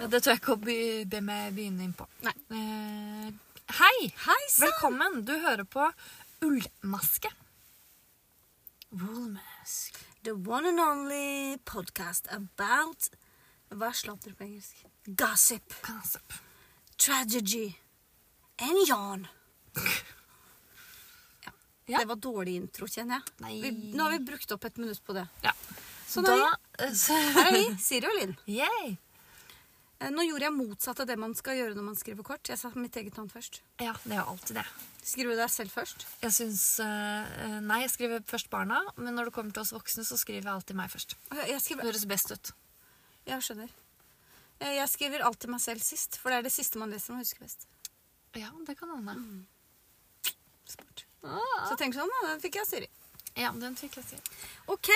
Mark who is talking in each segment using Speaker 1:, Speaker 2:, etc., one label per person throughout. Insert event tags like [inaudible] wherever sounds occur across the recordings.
Speaker 1: Ja, det tør jeg ikke å be, be meg begynne innpå.
Speaker 2: Nei.
Speaker 1: Eh, hei!
Speaker 2: Hei sann!
Speaker 1: Velkommen! Du hører på Ullmaske. Woolmask.
Speaker 2: The one and only podcast about Hva er sladder på engelsk? Gossip,
Speaker 1: Gossip.
Speaker 2: tragedy and [laughs] yarn. Ja.
Speaker 1: Ja.
Speaker 2: Det var dårlig intro, kjenner jeg.
Speaker 1: Nei.
Speaker 2: Vi, nå har vi brukt opp et minutt [laughs] på det.
Speaker 1: Ja.
Speaker 2: Så
Speaker 1: da eh, så,
Speaker 2: Hei, Siri og Linn.
Speaker 1: Yay!
Speaker 2: Eh, Nå gjorde jeg motsatt av det man skal gjøre når man skriver kort. Jeg sa mitt eget navn først.
Speaker 1: Ja, det er alltid det.
Speaker 2: Skriver du deg selv først?
Speaker 1: Jeg syns eh, Nei, jeg skriver først barna, men når det kommer til oss voksne, så skriver jeg alltid meg først.
Speaker 2: Å, Jeg, jeg
Speaker 1: Det
Speaker 2: skriver,
Speaker 1: høres best ut.
Speaker 2: jeg skjønner. Eh, Jeg skriver alltid meg selv sist, for det er det siste man leser man husker best.
Speaker 1: Ja, det kan hende.
Speaker 2: Smart.
Speaker 1: Ah.
Speaker 2: Så tenk sånn, da. Den fikk jeg av Siri.
Speaker 1: Ja, den fikk jeg til.
Speaker 2: Ok,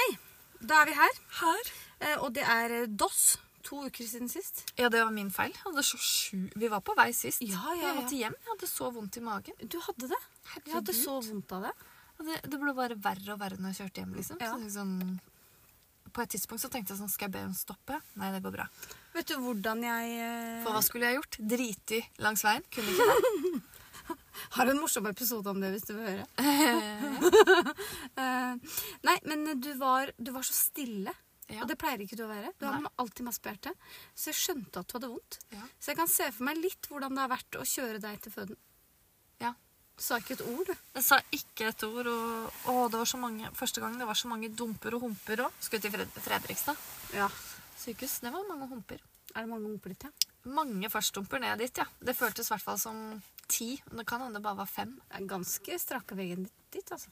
Speaker 2: da er vi her.
Speaker 1: Her?
Speaker 2: Eh, Og det er eh, DOS. To uker siden sist.
Speaker 1: Ja, det var min feil. Jeg hadde så sju... Vi var på vei sist.
Speaker 2: Ja, ja,
Speaker 1: Jeg måtte
Speaker 2: ja.
Speaker 1: hjem. Jeg hadde så vondt i magen.
Speaker 2: Du hadde det? Jeg hadde så vondt av det.
Speaker 1: Og Det, det ble bare verre og verre når jeg kjørte hjem, liksom.
Speaker 2: Ja.
Speaker 1: Så liksom på et tidspunkt så tenkte jeg sånn, skal jeg be henne stoppe? Nei, det går bra.
Speaker 2: Vet du hvordan jeg eh,
Speaker 1: For hva skulle jeg gjort? Driti langs veien? Kunne ikke [laughs] det.
Speaker 2: Har en morsom episode om det, hvis du vil høre. [laughs] Eh, nei, men eh, du var, du var så stille.
Speaker 1: Ja.
Speaker 2: Og det pleier ikke du å være. Du har
Speaker 1: Nei.
Speaker 2: alltid masse på hjertet. Så jeg skjønte at du hadde vondt.
Speaker 1: Ja.
Speaker 2: Så jeg kan se for meg litt hvordan det har vært å kjøre deg til føden.
Speaker 1: Ja.
Speaker 2: Du sa ikke et ord, du.
Speaker 1: Jeg sa ikke et ord, og å, det var så mange, første gang det var så mange dumper og humper òg. Skulle til Fred Fredrikstad
Speaker 2: Ja.
Speaker 1: sykehus. Det var mange humper.
Speaker 2: Er det mange humper ditt, ja?
Speaker 1: Mange førstumper ned dit, ja. Det føltes i hvert fall som ti. men Det kan hende det bare var fem.
Speaker 2: Det er ganske strake veggen dit, altså.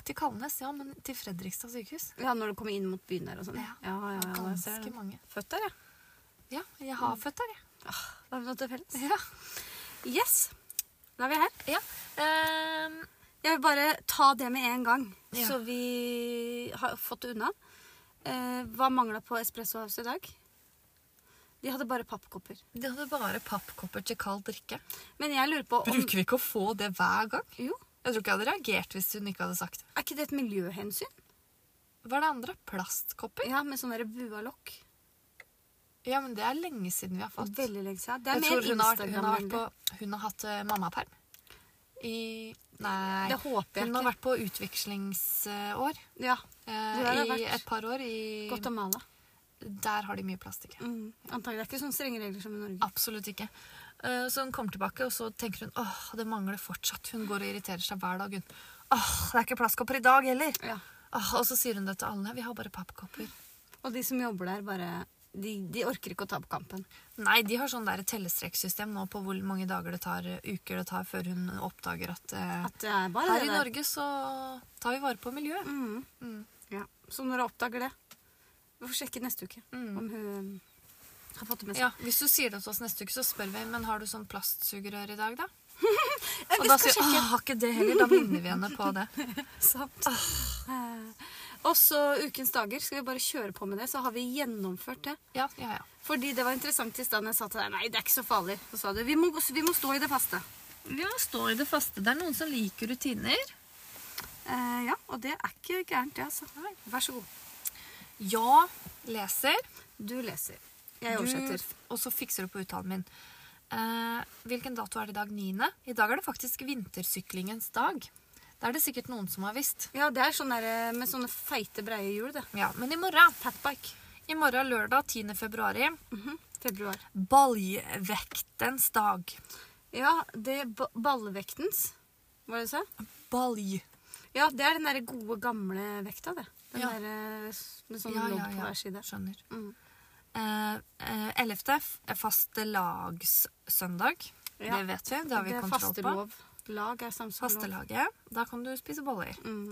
Speaker 1: Til Kalnes, ja, men til Fredrikstad sykehus.
Speaker 2: Ja, når du kommer inn mot byen der og sånn.
Speaker 1: Ja.
Speaker 2: ja, ja, ja, jeg ser
Speaker 1: Ganske
Speaker 2: det.
Speaker 1: mange.
Speaker 2: Født der, ja.
Speaker 1: Ja, jeg har født der, jeg.
Speaker 2: Da har vi noe til felles.
Speaker 1: Ja.
Speaker 2: Yes. Da er vi her.
Speaker 1: ja. Ehm,
Speaker 2: Jeg vil bare ta det med en gang,
Speaker 1: Ja.
Speaker 2: så vi har fått det unna. Eh, hva mangla på Espresso House i dag? De hadde bare pappkopper.
Speaker 1: de hadde bare pappkopper til kald drikke.
Speaker 2: Men jeg lurer på om
Speaker 1: Bruker vi ikke å få det hver gang?
Speaker 2: Jo,
Speaker 1: Jeg tror ikke jeg hadde reagert hvis hun ikke hadde sagt det.
Speaker 2: er ikke det et miljøhensyn?
Speaker 1: Hva er det andre? Plastkopper?
Speaker 2: Ja, med sånne der bualokk.
Speaker 1: Ja, men det er lenge siden vi har fått.
Speaker 2: Veldig lenge siden. Det er
Speaker 1: Jeg
Speaker 2: mer
Speaker 1: tror hun har, vært- hun har, vært
Speaker 2: Instagram-vennlig.
Speaker 1: på, hun har hatt eh, mammaperm. I Nei.
Speaker 2: Det håper jeg
Speaker 1: Hun har
Speaker 2: ikke.
Speaker 1: vært på utvekslingsår
Speaker 2: Ja,
Speaker 1: eh,
Speaker 2: har
Speaker 1: i
Speaker 2: vært-
Speaker 1: et par år. I,
Speaker 2: Guatemala.
Speaker 1: der har de mye plastikk. ja.
Speaker 2: Mm. Antagelig. Det er ikke sånne strenge regler som i Norge.
Speaker 1: Absolutt ikke. Eh, Så hun kommer tilbake, og så tenker hun åh, det mangler fortsatt. Hun går og irriterer seg hver dag. Hun. Åh, det er ikke plastkopper i dag heller!
Speaker 2: Ja.
Speaker 1: Åh, og så sier hun det til alle. Vi har bare pappkopper.
Speaker 2: Og de som jobber der, bare de, de orker ikke å ta på kampen.
Speaker 1: Nei, de har sånn der tellestreksystem nå på hvor mange dager det tar, eh, uker det tar før hun oppdager at, eh,
Speaker 2: At det er bare
Speaker 1: her
Speaker 2: det
Speaker 1: i
Speaker 2: der.
Speaker 1: Norge så tar vi vare på miljøet.
Speaker 2: Mm.
Speaker 1: Mm.
Speaker 2: Ja. Så når jeg oppdager det Vi får sjekke neste uke
Speaker 1: Mm.
Speaker 2: om hun har fått det med seg.
Speaker 1: [laughs] Ja, hvis du sier det til oss neste uke, så spør vi men har du sånn plastsugerør i dag, da?
Speaker 2: Eh,
Speaker 1: Og
Speaker 2: vi
Speaker 1: da
Speaker 2: skal
Speaker 1: sier hun
Speaker 2: sjekke.
Speaker 1: «Åh, har ikke det heller. Da minner vi henne [laughs] på det.
Speaker 2: Sant. Eh, Og så ukens dager. Skal vi bare kjøre på med det, så har vi gjennomført det.
Speaker 1: Ja, ja, ja.
Speaker 2: Fordi det var interessant i stedet jeg sa til deg Nei, det er ikke så farlig. Så sa du vi må, vi må stå i det faste.
Speaker 1: Vi må stå i det faste. Det er noen som liker rutiner.
Speaker 2: Eh, ja, og det er ikke gærent, det, altså. Vær så god.
Speaker 1: Ja, leser.
Speaker 2: Du leser. Jeg oversetter.
Speaker 1: Du, og så fikser du på uttalen min. Eh, hvilken dato er det i dag? 9. I dag er det faktisk vintersyklingens dag. Det er det sikkert noen som har visst.
Speaker 2: Ja, det er sånn der eh, med sånne feite, breie hjul, det.
Speaker 1: Ja, men i morgen,
Speaker 2: Fatbike.
Speaker 1: i morgen lørdag 10. februari,
Speaker 2: Mhm. Februar.
Speaker 1: baljevektens dag.
Speaker 2: Ja, det ba- ballvektens. Hva var det du sa?
Speaker 1: Balj.
Speaker 2: Ja, det er den derre gode, gamle vekta, det. Den
Speaker 1: Ja.
Speaker 2: derre s- med sånn
Speaker 1: Ja,
Speaker 2: lodd
Speaker 1: ja,
Speaker 2: på
Speaker 1: ja.
Speaker 2: hver side.
Speaker 1: Skjønner.
Speaker 2: Mm.
Speaker 1: Eh, eh, 11. f- fastelagssøndag.
Speaker 2: Ja.
Speaker 1: Det vet vi, det har vi
Speaker 2: det er
Speaker 1: kontroll
Speaker 2: faste
Speaker 1: på.
Speaker 2: lov. Lag er samme som lov.
Speaker 1: Fastelaget. Da kan du spise boller.
Speaker 2: Mm.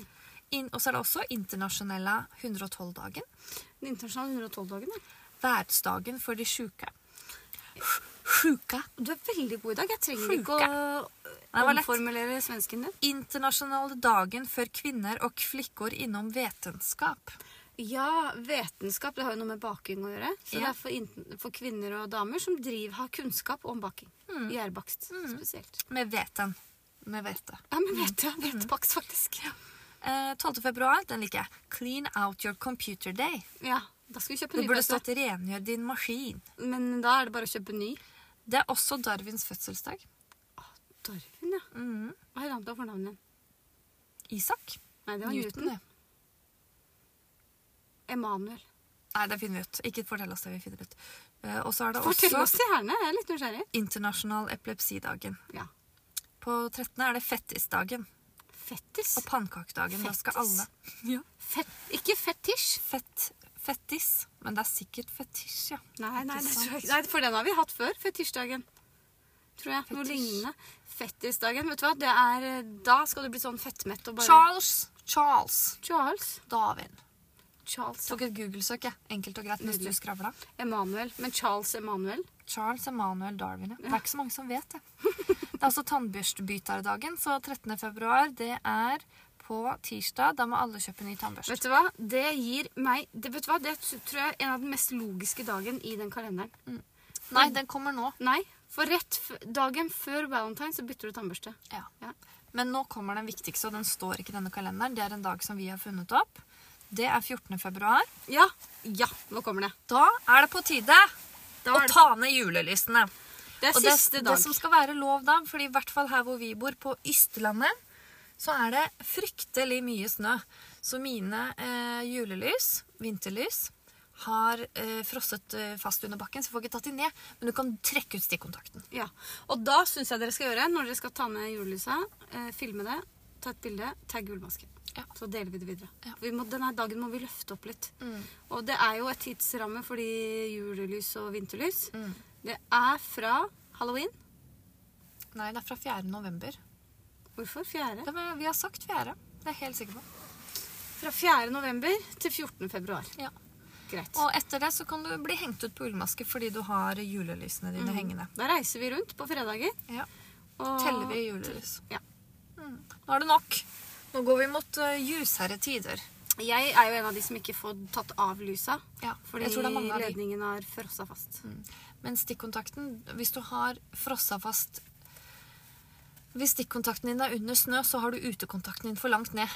Speaker 1: Inn- og så er det også internasjonelle 112-dagen.
Speaker 2: Den internasjonale 112-dagen, ja.
Speaker 1: Verdsdagen for de sjuke. Sjuka.
Speaker 2: Du er veldig god i dag. Jeg trenger
Speaker 1: Sjuke.
Speaker 2: ikke å
Speaker 1: det var lett.
Speaker 2: omformulere svensken din.
Speaker 1: Internasjonale dagen for kvinner og flikkor innom vetenskap.
Speaker 2: Ja, vetenskap det har jo noe med baking å gjøre. Så det
Speaker 1: Ja.
Speaker 2: er for, in- for kvinner og damer som driver, har kunnskap om baking. Gjærbakst spesielt. Mm.
Speaker 1: Med veten. Med vete.
Speaker 2: Mm. Ja, men vet du, hvetebakst faktisk.
Speaker 1: Eh, 12. februar, den liker jeg. Clean out your computer day.
Speaker 2: Ja, da skal vi kjøpe
Speaker 1: Det
Speaker 2: ny
Speaker 1: burde
Speaker 2: pølse.
Speaker 1: stått 'rengjør din maskin'.
Speaker 2: Men da er det bare å kjøpe ny.
Speaker 1: Det er også Darwins fødselsdag.
Speaker 2: Darwin, ja.
Speaker 1: Mhm.
Speaker 2: Hva er navnet og fornavnet igjen?
Speaker 1: Isak.
Speaker 2: Nei, det var Newton.
Speaker 1: det.
Speaker 2: Emanuel.
Speaker 1: Nei, det finner vi ut. Ikke fortell oss det vi finner ut. Eh, og så er det
Speaker 2: Fortell oss
Speaker 1: også
Speaker 2: gjerne, jeg er litt nysgjerrig.
Speaker 1: internasjonal epilepsidagen.
Speaker 2: Ja.
Speaker 1: På 13. er det fettisdagen
Speaker 2: Fettis.
Speaker 1: og pannkakedagen. Da skal
Speaker 2: Fettis?
Speaker 1: alle ja.
Speaker 2: Fett, ikke fetisj.
Speaker 1: Fett, fettis. Men det er sikkert fetisj, ja.
Speaker 2: Nei, nei, det
Speaker 1: sant.
Speaker 2: tror jeg ikke. nei, for den har vi hatt før. Fetisjdagen. Tror jeg. Noe
Speaker 1: Fetisj.
Speaker 2: lignende. Fettisdagen. Vet du hva, det er eh, Da skal du bli sånn fettmett og bare
Speaker 1: Charles. Charles.
Speaker 2: Charles.
Speaker 1: Darwin.
Speaker 2: Charles.
Speaker 1: Tok et Google-søk, jeg. Enkelt og greit mens du
Speaker 2: Nydelig.
Speaker 1: skravla.
Speaker 2: Emanuel. Men Charles Emanuel.
Speaker 1: Charles Emanuel Darwin, ja. Det er ikke så mange som vet
Speaker 2: [laughs]
Speaker 1: det. Det er også tannbørstebytterdagen, så 13. februar, det er på tirsdag. Da må alle kjøpe ny tannbørste.
Speaker 2: Vet du hva? Det gir meg det, Vet du hva? Det tror jeg er en av den mest logiske dagen i den kalenderen.
Speaker 1: Nei, den kommer nå.
Speaker 2: Nei, for rett f dagen før valentine så bytter du tannbørste.
Speaker 1: Ja.
Speaker 2: Ja.
Speaker 1: Men nå kommer den viktigste, og den står ikke i denne kalenderen. Det er en dag som vi har funnet opp. Det er 14. februar.
Speaker 2: Ja. Ja, nå kommer det.
Speaker 1: Da er det på tide
Speaker 2: Da
Speaker 1: å
Speaker 2: er det-
Speaker 1: ta ned julelysene.
Speaker 2: Det er
Speaker 1: Og det,
Speaker 2: siste
Speaker 1: det
Speaker 2: dag.
Speaker 1: som skal være lov da, fordi i hvert fall her hvor vi bor, på Ystlandet, så er det fryktelig mye snø. Så mine eh, julelys, vinterlys, har eh, frosset eh, fast under bakken, så jeg får ikke tatt de ned. Men du kan trekke ut stikkontakten.
Speaker 2: Ja, og da syns jeg dere skal gjøre, når dere skal ta ned julelysa, eh, filme det, ta et bilde, tagg julemasken.
Speaker 1: Ja.
Speaker 2: Så deler vi det videre.
Speaker 1: Ja. Mm.
Speaker 2: Vi må, denne dagen må vi løfte opp litt. Og det er jo et tidsramme fordi julelys og vinterlys.
Speaker 1: Mm.
Speaker 2: Det er fra halloween.
Speaker 1: Nei, det er fra 4. november.
Speaker 2: Hvorfor? Fjerde?
Speaker 1: Det var, vi har sagt 4. Det er jeg helt sikker på.
Speaker 2: Fra 4. november til 14. februar.
Speaker 1: Ja.
Speaker 2: Greit.
Speaker 1: Og etter det så kan du bli hengt ut på ullmaske fordi du har julelysene dine hengende.
Speaker 2: Da reiser vi rundt på fredager.
Speaker 1: Mm. Ja.
Speaker 2: Og
Speaker 1: Teller vi julelys.
Speaker 2: Ja.
Speaker 1: Mm. Nå er det nok. Nå går vi mot uh, ljusere tider.
Speaker 2: Jeg er jo en av de som ikke får tatt av lysa.
Speaker 1: Ja,
Speaker 2: Fordi
Speaker 1: jeg tror det er mange av de. Mm.
Speaker 2: ledningen har frossa fast.
Speaker 1: Men stikkontakten, hvis du har frossa fast Hvis stikkontakten din er under snø, så har du utekontakten din for langt ned.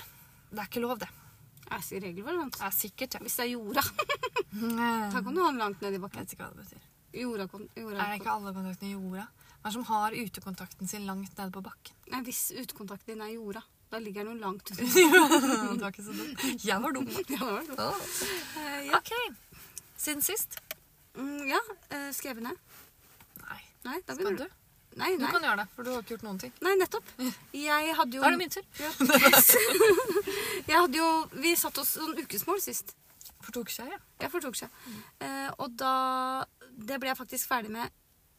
Speaker 1: Det er ikke lov, det. Mm,
Speaker 2: Er ikke regelvalent.
Speaker 1: Det er sikkert, ja.
Speaker 2: Hvis det er jorda. Da
Speaker 1: Jeg
Speaker 2: kan du ha den langt ned i bakken.
Speaker 1: vet ikke hva det betyr.
Speaker 2: Jorda, kon- jorda,
Speaker 1: Er det ikke alle kontaktene i jorda? Hva er det som har utekontakten sin langt nede på [laughs] bakken?
Speaker 2: Nei, Hvis utkontakten din er jorda, da ligger den jo langt
Speaker 1: [laughs]
Speaker 2: under.
Speaker 1: det var ikke så dumt. Jeg var dum.
Speaker 2: Ja, [laughs] det var det.
Speaker 1: Åh.
Speaker 2: Eh, ja.
Speaker 1: OK. Siden sist?
Speaker 2: Mm, ja. eh, skrev jeg ned?
Speaker 1: Nei.
Speaker 2: Nei, da
Speaker 1: Skal
Speaker 2: begynner
Speaker 1: du?
Speaker 2: Nei,
Speaker 1: Du
Speaker 2: nei.
Speaker 1: kan gjøre det, for du har ikke gjort noen ting.
Speaker 2: nei,
Speaker 1: [laughs]
Speaker 2: nettopp. Jeg hadde jo
Speaker 1: Da er det min tur.
Speaker 2: Ja. jeg hadde jo Vi satte oss sånn ukesmål sist.
Speaker 1: Fortok seg, ja.
Speaker 2: Jeg fortok seg.
Speaker 1: Mm.
Speaker 2: Eh, og da Det ble jeg faktisk ferdig med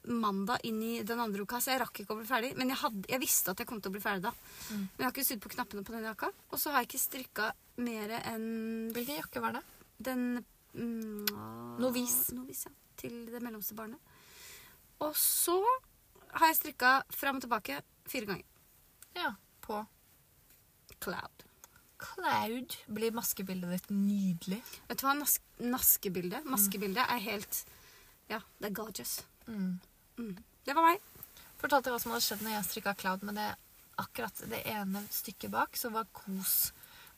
Speaker 2: mandag inn i den andre uka, så jeg rakk ikke å bli ferdig. Men jeg, hadde, jeg visste at jeg kom til å bli ferdig da.
Speaker 1: Mm.
Speaker 2: Men jeg har ikke sydd på knappene på den jakka. Og så har jeg ikke strikka mer enn
Speaker 1: Hvilken jakke var det?
Speaker 2: den mm, å-
Speaker 1: Novis.
Speaker 2: ja, til det mellomste barnet. Og så har jeg strikka fram og tilbake fire ganger.
Speaker 1: Ja, på
Speaker 2: Cloud.
Speaker 1: Cloud. Blir maskebildet ditt nydelig?
Speaker 2: Vet du hva nas naskebilde Maskebildet er helt Ja, det er gorgeous.
Speaker 1: Mm.
Speaker 2: Mm. Det var meg.
Speaker 1: Fortalte jeg hva som hadde skjedd når jeg strikka Cloud, men det akkurat det ene stykket bak, så var kos.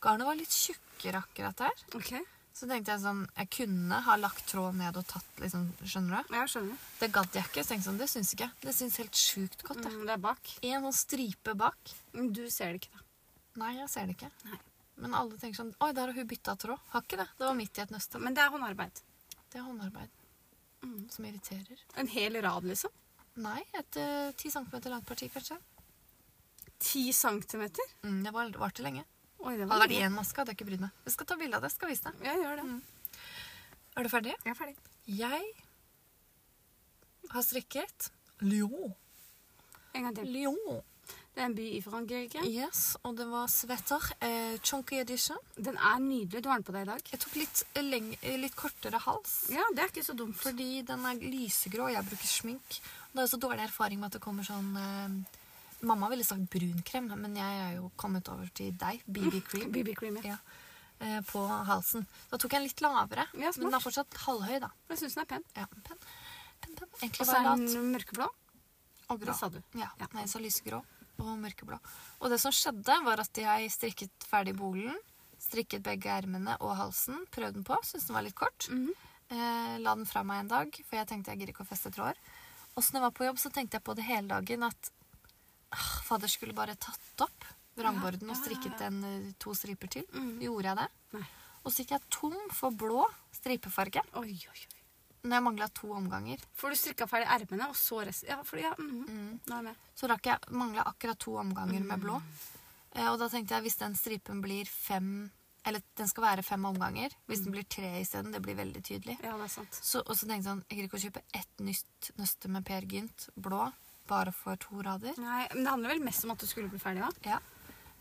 Speaker 1: Garnet var litt tjukkere akkurat der.
Speaker 2: Ok,
Speaker 1: Så tenkte jeg sånn Jeg kunne ha lagt tråd ned og tatt, liksom. Skjønner du?
Speaker 2: Jeg skjønner.
Speaker 1: Det gadd jeg ikke. Så tenkte jeg sånn, det syns ikke. jeg. Det syns helt sjukt godt.
Speaker 2: Mm, det er bak.
Speaker 1: jeg. En sånn stripe bak.
Speaker 2: Men du ser det ikke, da.
Speaker 1: Nei, jeg ser det ikke.
Speaker 2: Nei.
Speaker 1: Men alle tenker sånn Oi, der har hun bytta tråd. Har ikke det. Det var midt i et nøste.
Speaker 2: Men det er håndarbeid.
Speaker 1: Det er håndarbeid
Speaker 2: Mm.
Speaker 1: som irriterer.
Speaker 2: En hel rad, liksom.
Speaker 1: Nei, et eh, 10 cm langt parti, kanskje.
Speaker 2: Ti centimeter?
Speaker 1: Mm, det var- varte lenge.
Speaker 2: Oi, det var
Speaker 1: Hadde det
Speaker 2: mye.
Speaker 1: vært én maske, hadde jeg ikke brydd meg. Vi skal ta bilde av det. skal vise deg.
Speaker 2: Ja, gjør det.
Speaker 1: Er du ferdig?
Speaker 2: Jeg er ferdig.
Speaker 1: Jeg har strikket Lyon.
Speaker 2: En gang til.
Speaker 1: Lyon.
Speaker 2: Det er en by i Frankrike.
Speaker 1: Yes, og det var sweater. Eh, chunky edition.
Speaker 2: Den er nydelig. Du har den på deg i dag.
Speaker 1: Jeg tok litt, leng eh, litt kortere hals.
Speaker 2: Ja, det er ikke så dumt.
Speaker 1: Fordi den er lysegrå, og jeg bruker smink. Og det er jo så dårlig erfaring med at det kommer sånn eh, Mamma ville sagt brun krem, men jeg er jo kommet over til deg, BB cream,
Speaker 2: BB Mm, cream, ja.
Speaker 1: ja, eh, på halsen. Da tok jeg en litt lavere,
Speaker 2: Ja, smart.
Speaker 1: men den er fortsatt halvhøy, da.
Speaker 2: Jeg syns den er pen.
Speaker 1: Ja, pen, pen, pen.
Speaker 2: Og
Speaker 1: Egentlig
Speaker 2: så
Speaker 1: var
Speaker 2: er
Speaker 1: jeg lat
Speaker 2: den mørkeblå.
Speaker 1: og grå.
Speaker 2: Det sa du.
Speaker 1: Ja,
Speaker 2: Ja.
Speaker 1: Nei, jeg sa lysegrå og mørkeblå. Og det som skjedde, var at jeg strikket ferdig bolen, strikket begge ermene og halsen, prøvde den på, syntes den var litt kort.
Speaker 2: Mhm.
Speaker 1: eh, la den fra meg en dag, for jeg tenkte jeg gidder ikke å feste tråder. Og så når jeg var på jobb, så tenkte jeg på det hele dagen at ah, fader skulle bare tatt opp vrangborden
Speaker 2: Ja,
Speaker 1: og
Speaker 2: ja, ja,
Speaker 1: strikket
Speaker 2: ja.
Speaker 1: en eh, to striper til.
Speaker 2: Mhm.
Speaker 1: Gjorde jeg det?
Speaker 2: Nei.
Speaker 1: Og så gikk jeg tom for blå stripefarge
Speaker 2: Oi, oi, oi.
Speaker 1: når jeg mangla to omganger.
Speaker 2: For du strikka ferdig ermene, og så resten. Ja, for, ja, mhm.
Speaker 1: Mm.
Speaker 2: Nå er jeg med.
Speaker 1: Så rakk jeg mangla akkurat to omganger med blå. Eh, og da tenkte jeg hvis den stripen blir fem Eller den skal være fem omganger. Hvis den blir tre isteden, det blir veldig tydelig.
Speaker 2: Ja, det er sant.
Speaker 1: Så, og så tenkte jeg sånn, jeg gidder ikke å kjøpe ett nytt nøste med Per Gynt, blå, bare for to rader.
Speaker 2: Nei, men Det handler vel mest om at du skulle bli ferdig, da?
Speaker 1: Ja.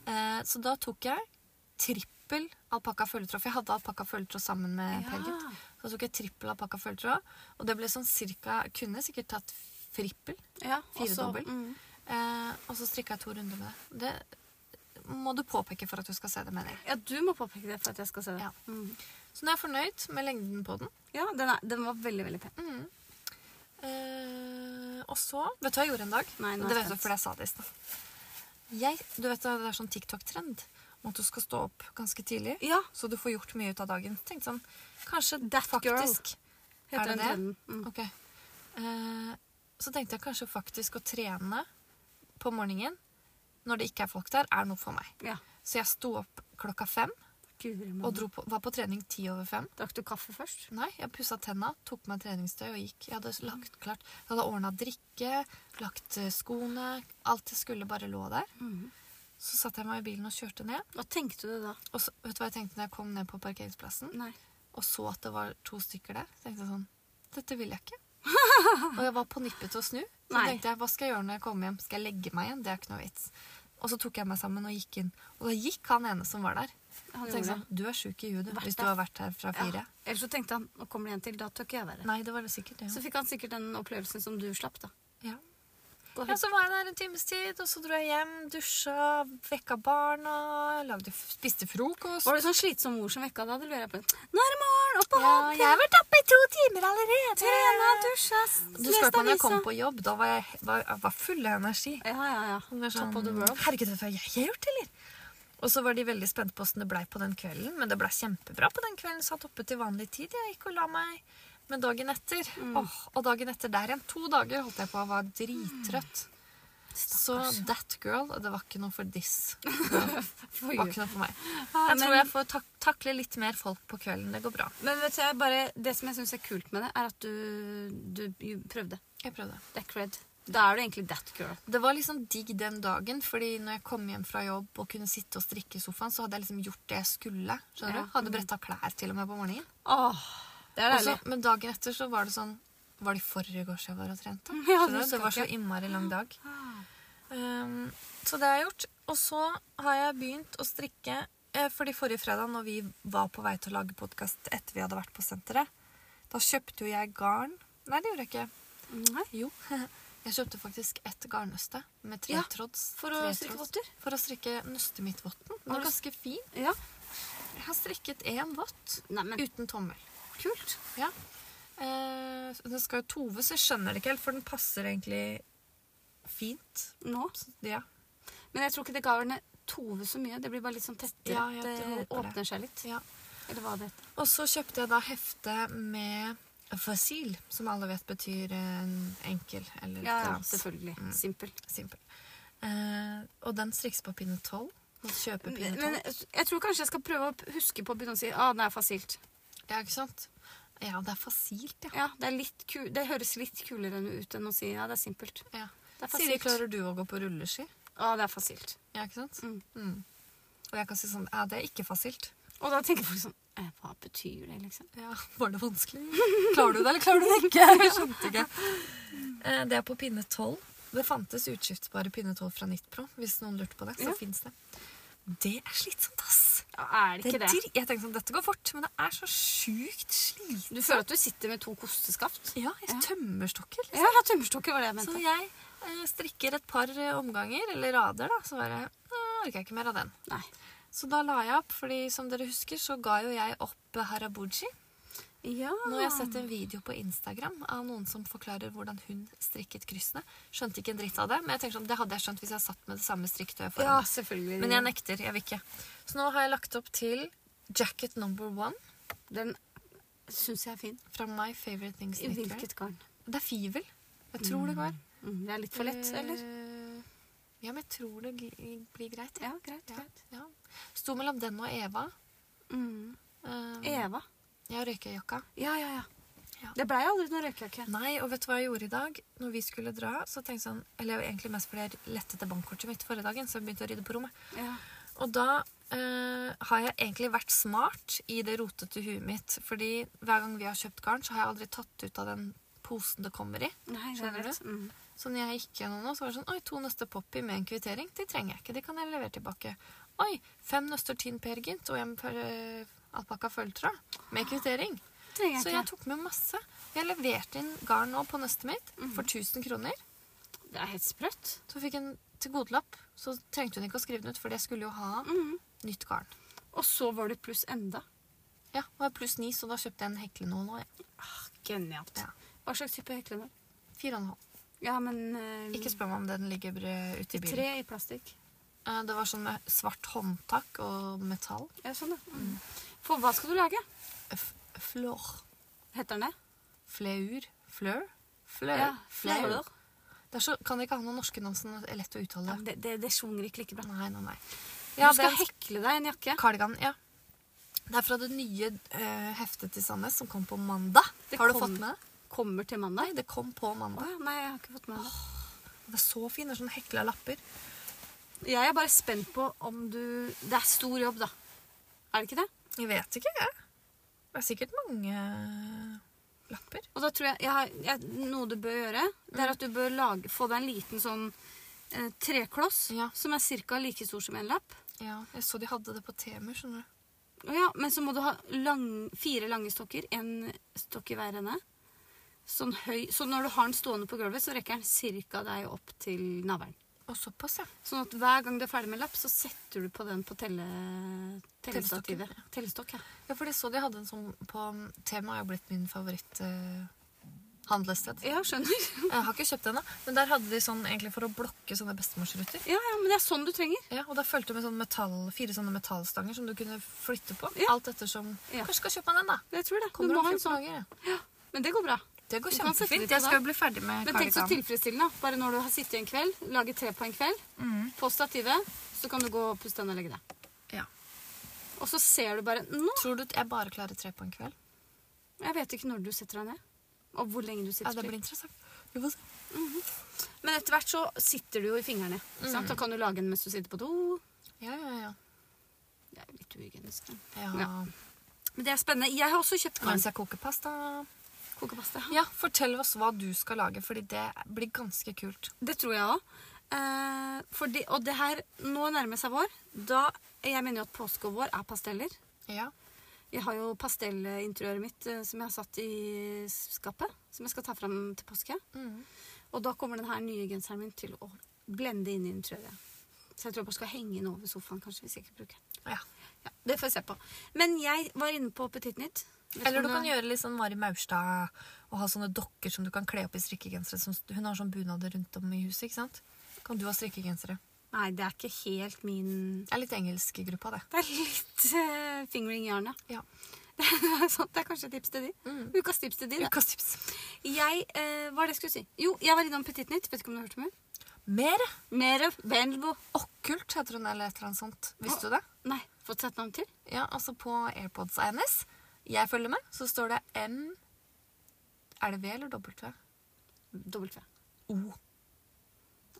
Speaker 1: Eh, så da tok jeg trippel alpakka følgetråd, for jeg hadde alpakka følgetråd sammen med
Speaker 2: Ja.
Speaker 1: Per Gynt. Så tok jeg trippel alpakka følgetråd, og det ble sånn cirka, kunne sikkert tatt frippel.
Speaker 2: Ja,
Speaker 1: Fire
Speaker 2: også-
Speaker 1: dobbelt.
Speaker 2: mhm.
Speaker 1: Eh, og så strikka jeg to runder med det. Det må du påpeke for at du skal se det, mener jeg.
Speaker 2: Ja, du må påpeke det for at jeg skal se det.
Speaker 1: Ja.
Speaker 2: Mhm.
Speaker 1: Så nå er jeg fornøyd med lengden på den.
Speaker 2: Ja, den, er, den var veldig, veldig pen.
Speaker 1: Mm. Eh, og så Vet du hva jeg gjorde en dag?
Speaker 2: Nei, nå er
Speaker 1: det
Speaker 2: jeg
Speaker 1: vet du
Speaker 2: spent.
Speaker 1: fordi jeg sa det i stad. Jeg- Du vet det er sånn TikTok-trend om at du skal stå opp ganske tidlig,
Speaker 2: Ja,
Speaker 1: så du får gjort mye ut av dagen. Tenkte sånn Kanskje
Speaker 2: That girl.
Speaker 1: faktisk
Speaker 2: heter
Speaker 1: Er
Speaker 2: den
Speaker 1: det det?
Speaker 2: trenden. Mhm.
Speaker 1: Ok. Eh, så tenkte jeg kanskje faktisk å trene på morgenen når det ikke er folk der, er noe for meg.
Speaker 2: Ja.
Speaker 1: Så jeg sto opp klokka fem
Speaker 2: Guri malla.
Speaker 1: og dro på, var på trening ti over fem.
Speaker 2: Drakk du kaffe først?
Speaker 1: Nei, jeg pussa tenna, tok meg treningstøy og gikk. Jeg hadde lagt klart, jeg hadde ordna drikke, lagt eh, skoene Alt jeg skulle, bare lå der.
Speaker 2: Mhm.
Speaker 1: Så satte jeg meg i bilen og kjørte ned.
Speaker 2: Hva tenkte du da?
Speaker 1: Og så, vet du hva jeg tenkte når jeg kom ned på parkeringsplassen
Speaker 2: Nei.
Speaker 1: og så at det var to stykker der? Så tenkte jeg sånn Dette vil jeg ikke.
Speaker 2: [laughs]
Speaker 1: og jeg var på nippet til å snu. Så
Speaker 2: Nei.
Speaker 1: tenkte jeg, hva skal jeg gjøre når jeg kommer hjem? Skal jeg legge meg igjen? Det er ikke noe vits. Og så tok jeg meg sammen og gikk inn. Og da gikk han ene som var der.
Speaker 2: Han
Speaker 1: Og tenkte
Speaker 2: gjorde
Speaker 1: sånn,
Speaker 2: det.
Speaker 1: du er sjuk i huet du,
Speaker 2: Vært
Speaker 1: hvis du
Speaker 2: der.
Speaker 1: har vært her fra fire.
Speaker 2: Ja. Ellers så tenkte han nå kommer det en til, da tør ikke jeg være her.
Speaker 1: Nei, det var det sikkert. Ja.
Speaker 2: Så fikk han sikkert den opplevelsen som du slapp, da.
Speaker 1: Ja.
Speaker 2: Gå
Speaker 1: Ja,
Speaker 2: helt-
Speaker 1: så var jeg der en times tid, og så dro jeg hjem, dusja, vekka barna, lagde, spiste frokost.
Speaker 2: Var det sånn slitsom mor som vekka deg? Det lurer jeg på. Nå er det morgen! Opp og
Speaker 1: Ja,
Speaker 2: hopp!
Speaker 1: jeg har vært oppe i to timer allerede.
Speaker 2: Trena, dusja, s-
Speaker 1: Du spør
Speaker 2: lest
Speaker 1: på når jeg
Speaker 2: avisa.
Speaker 1: kom på jobb, da var jeg, var, jeg var full av energi.
Speaker 2: Ja, ja, ja.
Speaker 1: Jeg var sånn,
Speaker 2: Top of the [laughs] world.
Speaker 1: Herregud, vet du hva jeg har gjort, eller? Og så var de veldig spente på hvordan det blei på den kvelden, men det blei kjempebra på den kvelden. Satt oppe til vanlig tid, jeg gikk og la meg. Men dagen etter,
Speaker 2: Mm.
Speaker 1: åh, og dagen etter der igjen, to dager holdt jeg på å være drittrøtt. Så that girl, det var ikke noe for
Speaker 2: [laughs]
Speaker 1: this. Det var ikke noe for meg. Jeg tror jeg får tak takle litt mer folk på kvelden. Det går bra.
Speaker 2: Men vet du, jeg bare, det som jeg syns er kult med det, er at du, du jo prøvde.
Speaker 1: Jeg prøvde.
Speaker 2: Det er cred. Da er du egentlig that girl.
Speaker 1: Det var liksom digg den dagen, fordi når jeg kom hjem fra jobb og kunne sitte og strikke i sofaen, så hadde jeg liksom gjort det jeg skulle. skjønner
Speaker 2: Ja.
Speaker 1: du? Hadde bretta klær til og med på morgenen.
Speaker 2: Åh, det er
Speaker 1: Og
Speaker 2: deilig. [laughs]
Speaker 1: så- men dagen etter så var det sånn Var det i forgårs jeg var og trente?
Speaker 2: Ja,
Speaker 1: Skjønner
Speaker 2: det
Speaker 1: du? Det var så
Speaker 2: Mm, husker
Speaker 1: innmari lang dag. Um, så det har jeg gjort. Og så har jeg begynt å strikke eh, Fordi forrige fredag, når vi var på vei til å lage podkast etter vi hadde vært på senteret, da kjøpte jo jeg garn Nei, det gjorde jeg ikke.
Speaker 2: Nei.
Speaker 1: Jo. [laughs] Jeg kjøpte faktisk et garnnøste med tre
Speaker 2: Ja,
Speaker 1: tråds.
Speaker 2: for å
Speaker 1: tre
Speaker 2: strikke
Speaker 1: tråds-
Speaker 2: votter?
Speaker 1: For å strikke nøstet mitt votten. Den
Speaker 2: Har
Speaker 1: var
Speaker 2: du-
Speaker 1: ganske fin.
Speaker 2: Ja.
Speaker 1: Jeg har strikket én vott
Speaker 2: Nei, men
Speaker 1: uten tommel.
Speaker 2: kult.
Speaker 1: Ja. Eh, den skal jo tove, så jeg skjønner det ikke helt, for den passer egentlig fint.
Speaker 2: Nå.
Speaker 1: Så, ja.
Speaker 2: Men jeg tror ikke det garnet tover så mye. Det blir bare litt sånn tettere.
Speaker 1: Ja, jeg
Speaker 2: det
Speaker 1: håper det.
Speaker 2: åpner seg litt.
Speaker 1: ja.
Speaker 2: Eller hva det heter.
Speaker 1: Og så kjøpte jeg da hefte med fasil, som alle vet betyr eh, enkel eller
Speaker 2: Ja,
Speaker 1: et eller
Speaker 2: ja,
Speaker 1: annet.
Speaker 2: selvfølgelig. Simpel.
Speaker 1: Simpel. Eh, og den strikkes på pinne 12. Man kjøper pinne 12.
Speaker 2: Men jeg tror kanskje jeg skal prøve å huske på å begynne å si ah, det er fasilt.
Speaker 1: Ja, ikke sant? Ja, det er fasilt, ja.
Speaker 2: Ja, det, er litt ku det høres litt kulere ut enn å si ja, det er simpelt.
Speaker 1: ja.
Speaker 2: Det er
Speaker 1: Siri,
Speaker 2: fasilt.
Speaker 1: klarer du å gå på rulleski?
Speaker 2: Ja, «Ah, det er fasilt.
Speaker 1: Ja, ikke sant?
Speaker 2: Mm.
Speaker 1: Mm. Og jeg kan si sånn, ja, det er ikke fasilt.
Speaker 2: Og da tenker folk sånn eh, Hva betyr det, liksom?
Speaker 1: Ja, [laughs] var det
Speaker 2: [laughs] sånn,
Speaker 1: vanskelig? Klarer du det, eller klarer du det ikke? Jeg skjønte ikke. Eh, Det er på pinne 12. Det fantes utskiftbare pinnetål fra Nitpro, hvis noen lurte på det. Så
Speaker 2: Ja.
Speaker 1: finnes det. Det er slitsomt, ass.
Speaker 2: Ja, er det
Speaker 1: Det
Speaker 2: ikke
Speaker 1: er
Speaker 2: det?
Speaker 1: dir- jeg tenkte sånn, dette går fort, men det er så sjukt slitsomt.
Speaker 2: Du føler at du sitter med to kosteskaft?
Speaker 1: Ja, jeg
Speaker 2: Ja.
Speaker 1: tømmerstokker.
Speaker 2: Ja, ja tømmerstokker var det jeg
Speaker 1: Så
Speaker 2: mente.
Speaker 1: jeg eh, strikker et par eh, omganger, eller rader, da, så bare Nå orker jeg ikke mer av den.
Speaker 2: Nei.
Speaker 1: Så da la jeg opp, fordi som dere husker, så ga jo jeg opp eh, harabuji.
Speaker 2: Ja.
Speaker 1: Nå har jeg sett en video på Instagram av noen som forklarer hvordan hun strikket kryssene. Skjønte ikke en dritt av det, men jeg tenker sånn, det hadde jeg skjønt hvis jeg satt med det samme strikketøyet foran.
Speaker 2: Ja,
Speaker 1: meg.
Speaker 2: selvfølgelig.
Speaker 1: Men jeg nekter. Jeg vil ikke. Så nå har jeg lagt opp til jacket number one
Speaker 2: Den syns jeg er fin.
Speaker 1: fra My Favorite Things
Speaker 2: I
Speaker 1: Knitwear.
Speaker 2: hvilket garn?
Speaker 1: Det er fivel. Jeg tror det går.
Speaker 2: Mm, det er litt for lett, eller?
Speaker 1: Eh, Ja, men jeg tror det gl- blir greit.
Speaker 2: Ja, greit.
Speaker 1: Ja,
Speaker 2: greit.
Speaker 1: ja. Sto mellom den og Eva.
Speaker 2: Mm.
Speaker 1: Eh,
Speaker 2: Eva.
Speaker 1: Jeg røyker jakka.
Speaker 2: Ja, ja,
Speaker 1: Ja.
Speaker 2: ja. Det blei aldri noe røykejakke.
Speaker 1: Nei, og vet du hva jeg gjorde i dag? Når vi skulle dra, så tenkte jeg sånn Eller egentlig mest fordi jeg lette etter bankkortet mitt forrige dagen, så jeg begynte å rydde på rommet.
Speaker 2: Ja.
Speaker 1: Og da eh, har jeg egentlig vært smart i det rotete huet mitt. Fordi hver gang vi har kjøpt garn, så har jeg aldri tatt ut av den posen det kommer i.
Speaker 2: Nei, det
Speaker 1: Skjønner
Speaker 2: er rett. Mm.
Speaker 1: Så når jeg gikk gjennom nå, så var det sånn Oi, to nøster Poppy med en kvittering. De trenger jeg ikke. De kan jeg levere tilbake. Oi, fem nøster Tin Per Gynt og en per, eh, alpakka følgetråd med kvittering.
Speaker 2: Trenger
Speaker 1: Så
Speaker 2: jeg
Speaker 1: jeg
Speaker 2: ikke.
Speaker 1: tok med masse. Jeg leverte inn garn nå på nøstet mitt for 1000 kroner.
Speaker 2: Det er helt sprøtt.
Speaker 1: Så fikk jeg en tilgodelapp. Så trengte hun ikke å skrive den ut, for jeg skulle jo ha
Speaker 2: Mm.
Speaker 1: nytt garn.
Speaker 2: Og så var du pluss enda.
Speaker 1: Ja, det var pluss ni, så da kjøpte jeg en heklenål nå. jeg.
Speaker 2: Ah, Genialt.
Speaker 1: Ja.
Speaker 2: Hva slags type heklenål?
Speaker 1: Fire og en halv.
Speaker 2: Ja, men eh,
Speaker 1: Ikke spør meg om den ligger br- ute i bilen.
Speaker 2: Tre i plastikk.
Speaker 1: Eh, Det var sånn med svart håndtak og metall.
Speaker 2: Ja, sånn, ja. Mm. For hva skal du lage?
Speaker 1: F flår.
Speaker 2: Heter den det?
Speaker 1: Fleur. Fleur. Fleur.
Speaker 2: fløyler.
Speaker 1: Det er så, kan det ikke ha noen norske navn som er lett å
Speaker 2: Ja,
Speaker 1: uttale.
Speaker 2: men det, det, det sjunger ikke like bra.
Speaker 1: Nei, nei, nei.
Speaker 2: du skal hekle deg en jakke.
Speaker 1: Cardigan, ja. Det er fra det nye eh, heftet til Sandnes som kom på mandag.
Speaker 2: Det
Speaker 1: har du
Speaker 2: kom-
Speaker 1: fått med det?
Speaker 2: Kommer til
Speaker 1: Nei,
Speaker 2: mandag.
Speaker 1: det kom på
Speaker 2: Å
Speaker 1: mandag.
Speaker 2: ja, nei, jeg har ikke fått med meg det.
Speaker 1: Det er så fint. Det er sånn hekla lapper.
Speaker 2: Jeg er bare spent på om du Det er stor jobb, da. Er det ikke det?
Speaker 1: Jeg vet ikke, jeg. Det er sikkert mange
Speaker 2: eh,
Speaker 1: lapper.
Speaker 2: Og da tror jeg, jeg, har, jeg Noe du bør gjøre, det
Speaker 1: Mm.
Speaker 2: er at du bør lage, få deg en liten sånn eh, trekloss
Speaker 1: Ja.
Speaker 2: som er ca. like stor som en lapp.
Speaker 1: Ja, jeg så de hadde det på Temer, skjønner du.
Speaker 2: Ja, men så må du ha lang, fire lange stokker, en stokk i hver ende. Sånn høy, så når du har den stående på gulvet, så rekker den ca. deg opp til navlen.
Speaker 1: Og såpass, ja.
Speaker 2: Sånn at hver gang du er ferdig med lapp, så setter du på den på telle,
Speaker 1: Tellestokken,
Speaker 2: tellestativet. Tellestokk, ja.
Speaker 1: Ja, for jeg så de hadde en sånn på Tema har jo blitt min favoritt eh, handlested.
Speaker 2: Ja, skjønner. [laughs]
Speaker 1: Jeg har ikke kjøpt den da, men der hadde de sånn egentlig for å blokke sånne bestemorsruter.
Speaker 2: Ja, ja, men det er sånn du trenger.
Speaker 1: Ja, og da fulgte det med sånn metall, fire sånne metallstanger som du kunne flytte på.
Speaker 2: Ja.
Speaker 1: Alt ettersom.
Speaker 2: Ja.
Speaker 1: Kanskje skal kjøpe meg den da.
Speaker 2: Jeg tror det. Du
Speaker 1: Kommer
Speaker 2: må
Speaker 1: om
Speaker 2: ha en
Speaker 1: 14
Speaker 2: sånn.
Speaker 1: dager. ja.
Speaker 2: Ja, men det går bra.
Speaker 1: Det går
Speaker 2: Du kan sette litt
Speaker 1: kjempefint.
Speaker 2: på
Speaker 1: Jeg skal
Speaker 2: det.
Speaker 1: bli ferdig med
Speaker 2: Men tenk så
Speaker 1: kardigan.
Speaker 2: tilfredsstillende, da. bare når du har sittet en kveld, laget tre på en kveld,
Speaker 1: Mm.
Speaker 2: på stativet, så kan du gå og puste den og legge deg.
Speaker 1: Ja.
Speaker 2: Og så ser du bare Nå!
Speaker 1: Tror du at jeg bare klarer tre på en kveld?
Speaker 2: Jeg vet ikke når du setter deg ned, og hvor lenge du
Speaker 1: Ja,
Speaker 2: sitter.
Speaker 1: det blir interessant. Vi får se.
Speaker 2: Men etter hvert så sitter du jo i fingrene. ikke Sant? Mm. Da kan du lage en mens du sitter på do.
Speaker 1: Ja, ja, ja.
Speaker 2: Det er jo litt uhygienisk. men-
Speaker 1: ja.
Speaker 2: Ja. Men det er spennende. Jeg har også kjøpt garn.
Speaker 1: Mens jeg koker pasta.
Speaker 2: Kokepasta.
Speaker 1: Ja, fortell oss hva du skal lage, fordi det blir ganske kult.
Speaker 2: Det tror jeg òg. Eh, fordi- og det her Nå nærmer seg vår. Da, jeg mener jo at påske og vår er pasteller.
Speaker 1: Ja.
Speaker 2: Jeg har jo pastellinteriøret mitt eh, som jeg har satt i skapet. Som jeg skal ta fram til påske.
Speaker 1: Mhm.
Speaker 2: Og da kommer den her nye genseren min til å blende inn i den, tror jeg. Så jeg tror jeg bare skal henge den over sofaen, kanskje, hvis jeg ikke bruker den.
Speaker 1: ja.
Speaker 2: Ja, det får jeg se på. Men jeg var inne på Petit Nytt. Vet
Speaker 1: Eller
Speaker 2: om
Speaker 1: du kan gjøre litt sånn Mari Maurstad og ha sånne dokker som du kan kle opp i strikkegensere. som- Hun har sånn bunader rundt om i huset, ikke sant? Kan du ha strikkegensere?
Speaker 2: Nei, det er ikke helt min
Speaker 1: Det er litt engelsk i gruppa, det.
Speaker 2: Det er litt eh, fingering yarn, ja.
Speaker 1: Ja.
Speaker 2: [laughs]
Speaker 1: Mm.
Speaker 2: Det er sant, det er kanskje et tips til de. Ukas tips til de, det.
Speaker 1: Ukas tips.
Speaker 2: Jeg, eh, hva var det jeg skulle si? Jo, jeg var innom Petit Nytt. Vet ikke om du har hørt om henne?
Speaker 1: Mer
Speaker 2: Mere Benbo.
Speaker 1: okkult, heter hun, eller et eller annet sånt. Visste du det?
Speaker 2: Nei, fått sett navn til?
Speaker 1: Ja, altså på AirPods av hennes, jeg følger med, så står det M Er det V eller W?
Speaker 2: Dobbelt V.
Speaker 1: O.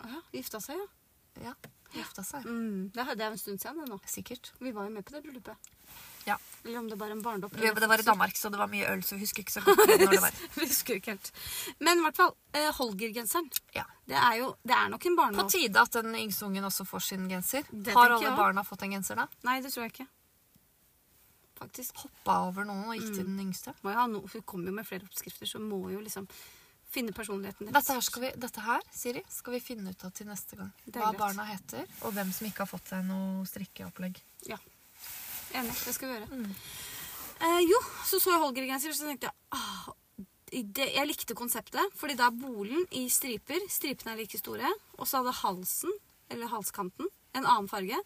Speaker 2: Å ja, gifta seg, ja.
Speaker 1: Ja. Gifta seg.
Speaker 2: Mm, det er det er jo en stund siden det nå.
Speaker 1: Sikkert.
Speaker 2: Vi var jo med på det bryllupet.
Speaker 1: Ja.
Speaker 2: Eller om det var en barndopp. [laughs]
Speaker 1: Det
Speaker 2: eller-
Speaker 1: var i Danmark, så det var mye øl, så jeg husker ikke så godt når det var.
Speaker 2: Vi husker ikke helt. Men i hvert fall, eh, Holger-genseren.
Speaker 1: [laughs] Ja.
Speaker 2: Det er jo det er nok en
Speaker 1: På
Speaker 2: barnelov.
Speaker 1: tide at den yngste ungen også får sin genser.
Speaker 2: Det
Speaker 1: Har
Speaker 2: tenker
Speaker 1: alle
Speaker 2: jeg også.
Speaker 1: barna fått en genser da?
Speaker 2: Nei, det tror jeg ikke. Faktisk.
Speaker 1: Hoppa over noen og gikk til
Speaker 2: Mm.
Speaker 1: den yngste.
Speaker 2: Må jo ha noe, hun kommer jo med flere oppskrifter, så må jo liksom finne personligheten deres.
Speaker 1: Dette her, skal vi, dette her, Siri, skal vi finne ut av til neste gang.
Speaker 2: Det er
Speaker 1: Hva
Speaker 2: greit.
Speaker 1: barna heter, og hvem som ikke har fått seg noe strikkeopplegg.
Speaker 2: Ja. Enig. Det skal vi gjøre. Eh, jo, så så jeg Holger-genser, og så tenkte jeg ah, det, Jeg likte konseptet, fordi da er bolen i striper. Stripene er like store. Og så hadde halsen, eller halskanten, en annen farge.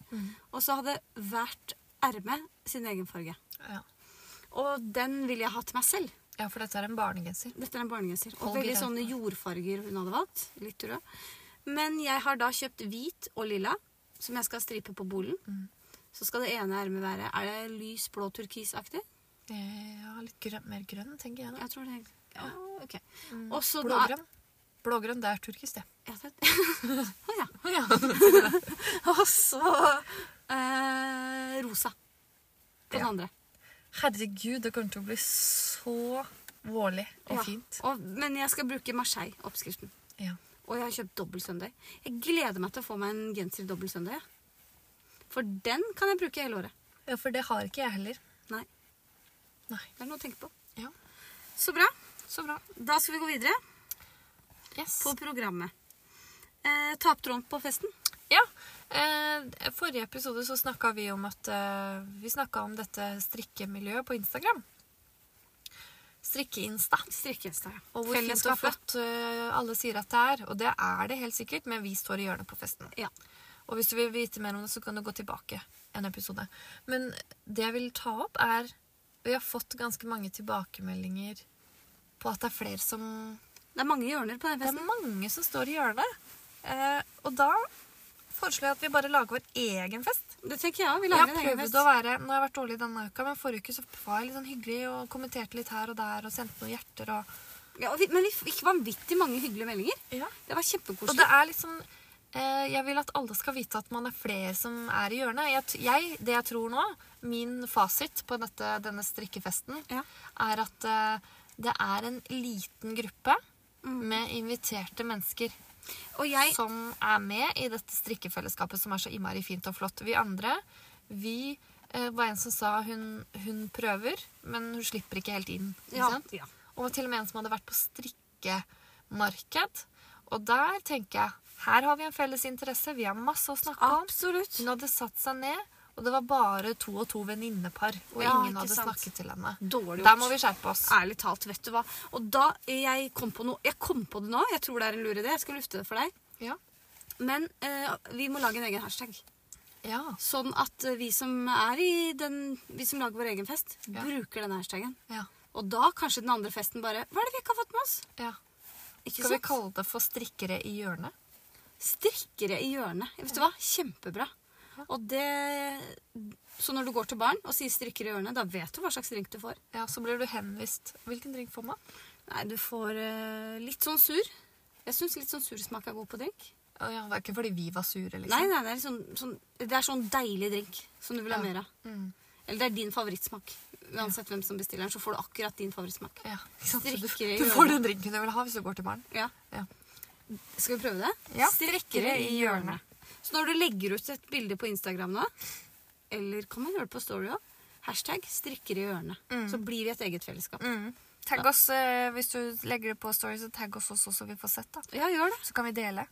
Speaker 2: Og så hadde hvert erme sin egen farge.
Speaker 1: Ja.
Speaker 2: Og den ville jeg ha til meg selv.
Speaker 1: ja, for dette er en barnegenser.
Speaker 2: Dette er en barnegenser. Og
Speaker 1: Holger
Speaker 2: veldig
Speaker 1: er-
Speaker 2: sånne jordfarger hun hadde valgt. Litt rød. Men jeg har da kjøpt hvit og lilla, som jeg skal stripe på bolen. Så skal det ene ermet være Er det lys blå turkisaktig?
Speaker 1: Eh, Ja, litt grønn, mer grønn, tenker jeg da.
Speaker 2: Jeg tror det er ja, ok. Og så da
Speaker 1: Blågrønn. Blågrønn, det er turkis, det.
Speaker 2: Ja, det- [laughs] Å ja.
Speaker 1: Ja.
Speaker 2: Og så eh, rosa på den
Speaker 1: Ja.
Speaker 2: andre.
Speaker 1: Herregud, det kommer til å bli så vårlig og
Speaker 2: Ja.
Speaker 1: fint.
Speaker 2: Og, men jeg skal bruke Marseille-oppskriften.
Speaker 1: Ja.
Speaker 2: Og jeg har kjøpt dobbel søndag. Jeg gleder meg til å få meg en genser i dobbel søndag. jeg. For den kan jeg bruke hele året.
Speaker 1: ja, for det har ikke jeg heller.
Speaker 2: Nei,
Speaker 1: Nei.
Speaker 2: det er noe å tenke på.
Speaker 1: Ja,
Speaker 2: Så bra.
Speaker 1: så bra.
Speaker 2: Da skal vi gå videre
Speaker 1: Yes.
Speaker 2: på programmet. Eh, Taptråden på festen.
Speaker 1: Ja. Eh, forrige episode så snakka vi om at eh, Vi snakka om dette strikkemiljøet på Instagram. Strikkeinsta.
Speaker 2: Strikkehester, ja.
Speaker 1: Og hvor fint og flott eh, alle sier at det er. Og det er det helt sikkert, men vi står i hjørnet på festen.
Speaker 2: Ja.
Speaker 1: Og hvis du vil vite mer om det, så kan du gå tilbake en episode. Men det jeg vil ta opp, er Vi har fått ganske mange tilbakemeldinger på at det er flere som
Speaker 2: Det er mange hjørner på den
Speaker 1: Det er
Speaker 2: festen.
Speaker 1: mange som står i hjørnet. Eh, og da foreslår jeg at vi bare lager vår egen fest.
Speaker 2: Det tenker jeg òg. Vi
Speaker 1: Jeg har
Speaker 2: lager en egen
Speaker 1: prøvd
Speaker 2: fest.
Speaker 1: å være, Nå har jeg vært dårlig denne uka, men forrige uke så var jeg litt sånn hyggelig og kommenterte litt her og der og sendte noen hjerter og
Speaker 2: Ja, og vi, men vi fikk vanvittig mange hyggelige meldinger. Det var
Speaker 1: Og
Speaker 2: kjempekoselig.
Speaker 1: det er liksom eh, Jeg vil at alle skal vite at man er flere som er i hjørnet. Jeg, t- jeg, det jeg tror nå, min fasit på dette, denne strikkefesten,
Speaker 2: Ja.
Speaker 1: er at eh, det er en liten gruppe
Speaker 2: Mm.
Speaker 1: med inviterte mennesker
Speaker 2: Og jeg
Speaker 1: som er med i dette strikkefellesskapet som er så innmari fint og flott. Vi andre, vi eh, var en som sa hun, hun prøver, men hun slipper ikke helt inn. Ikke
Speaker 2: ja,
Speaker 1: sant?
Speaker 2: ja.
Speaker 1: Og til og med en som hadde vært på strikkemarked. Og der tenker jeg her har vi en felles interesse. Vi har masse å snakke om.
Speaker 2: Absolutt.
Speaker 1: Hun hadde satt seg ned, og det var bare to og to venninnepar. Og
Speaker 2: Ja,
Speaker 1: ingen
Speaker 2: ikke
Speaker 1: hadde
Speaker 2: sant.
Speaker 1: snakket til henne.
Speaker 2: Dårlig
Speaker 1: Der må
Speaker 2: gjort.
Speaker 1: vi skjerpe oss.
Speaker 2: Ærlig talt, vet du hva. Og da jeg kom på noe Jeg kom på det nå. Jeg tror det er en lur idé. Jeg skal lufte det for deg.
Speaker 1: Ja.
Speaker 2: Men eh, vi må lage en egen hashtag.
Speaker 1: ja.
Speaker 2: Sånn at eh, vi som er i den Vi som lager vår egen fest,
Speaker 1: Ja.
Speaker 2: bruker denne hashtagen.
Speaker 1: ja.
Speaker 2: Og da kanskje den andre festen bare Hva er det vi ikke har fått med oss?
Speaker 1: ja.
Speaker 2: Ikke
Speaker 1: Skal vi
Speaker 2: sant?
Speaker 1: kalle det for strikkere i hjørnet?
Speaker 2: Strikkere i hjørnet. Vet du hva? Kjempebra. Og det Så når du går til barn og sier 'strikkere i hjørnet', da vet du hva slags drink du får.
Speaker 1: Ja, så blir du henvist. Hvilken drink får man?
Speaker 2: Nei, du får eh, litt sånn sur. Jeg syns litt sånn sur smak er god på drink.
Speaker 1: Å ja, det er ikke fordi vi var sure, liksom.
Speaker 2: Nei, nei, det er, litt sånn, sånn, det er sånn deilig drink som du vil ha
Speaker 1: Ja.
Speaker 2: mer av.
Speaker 1: Mm.
Speaker 2: Eller det er din favorittsmak. Uansett hvem som bestiller den, så får du akkurat din favorittsmak.
Speaker 1: Ja. ikke sant? Så Du,
Speaker 2: Strikkere i
Speaker 1: du
Speaker 2: hjørnet.
Speaker 1: får den drinken du vil ha hvis du går til baren.
Speaker 2: Ja.
Speaker 1: Ja.
Speaker 2: Skal vi prøve det?
Speaker 1: Ja, strikkere i hjørnet.
Speaker 2: Så når du legger ut et bilde på Instagram nå, eller kan man gjøre det på Story òg, hashtag 'strikker i hjørnet', så blir vi et eget fellesskap.
Speaker 1: Mm. Tagg oss eh, hvis du legger det på story, så tagg oss også, så vi får sett. da.
Speaker 2: Ja, gjør det.
Speaker 1: Så kan vi dele.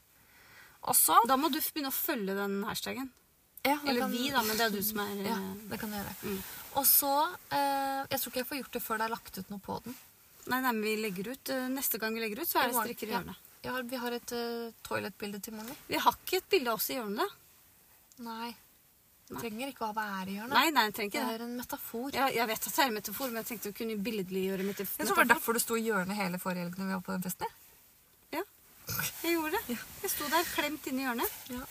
Speaker 1: Og så
Speaker 2: Da må du begynne å følge den hashtagen.
Speaker 1: ja, det
Speaker 2: Eller
Speaker 1: kan-
Speaker 2: vi, da, men det er du som er
Speaker 1: Ja,
Speaker 2: eh,
Speaker 1: det kan du gjøre.
Speaker 2: Mm.
Speaker 1: Og så eh, Jeg tror ikke jeg får gjort det før det er lagt ut noe på den.
Speaker 2: Nei, nei, men vi legger ut. eh, Neste gang vi legger ut, så er det
Speaker 1: morgen.
Speaker 2: 'strikker i
Speaker 1: Ja.
Speaker 2: hjørnet'.
Speaker 1: Jeg har, vi har et uh, toilettbilde til morgen.
Speaker 2: Vi har ikke et bilde av oss i hjørnet.
Speaker 1: Nei.
Speaker 2: Nei.
Speaker 1: Trenger ikke å ha hver hjørne.
Speaker 2: Nei, nei, jeg trenger
Speaker 1: Det
Speaker 2: ikke det.
Speaker 1: er en metafor.
Speaker 2: Jeg, jeg vet at det er en metafor, men jeg tenkte vi kunne billedliggjøre metafor.
Speaker 1: Jeg tror det var derfor du sto i hjørnet hele forrige helg når vi var på den festen.
Speaker 2: Ja, jeg gjorde det. Jeg sto der klemt inne i hjørnet.
Speaker 1: Ja.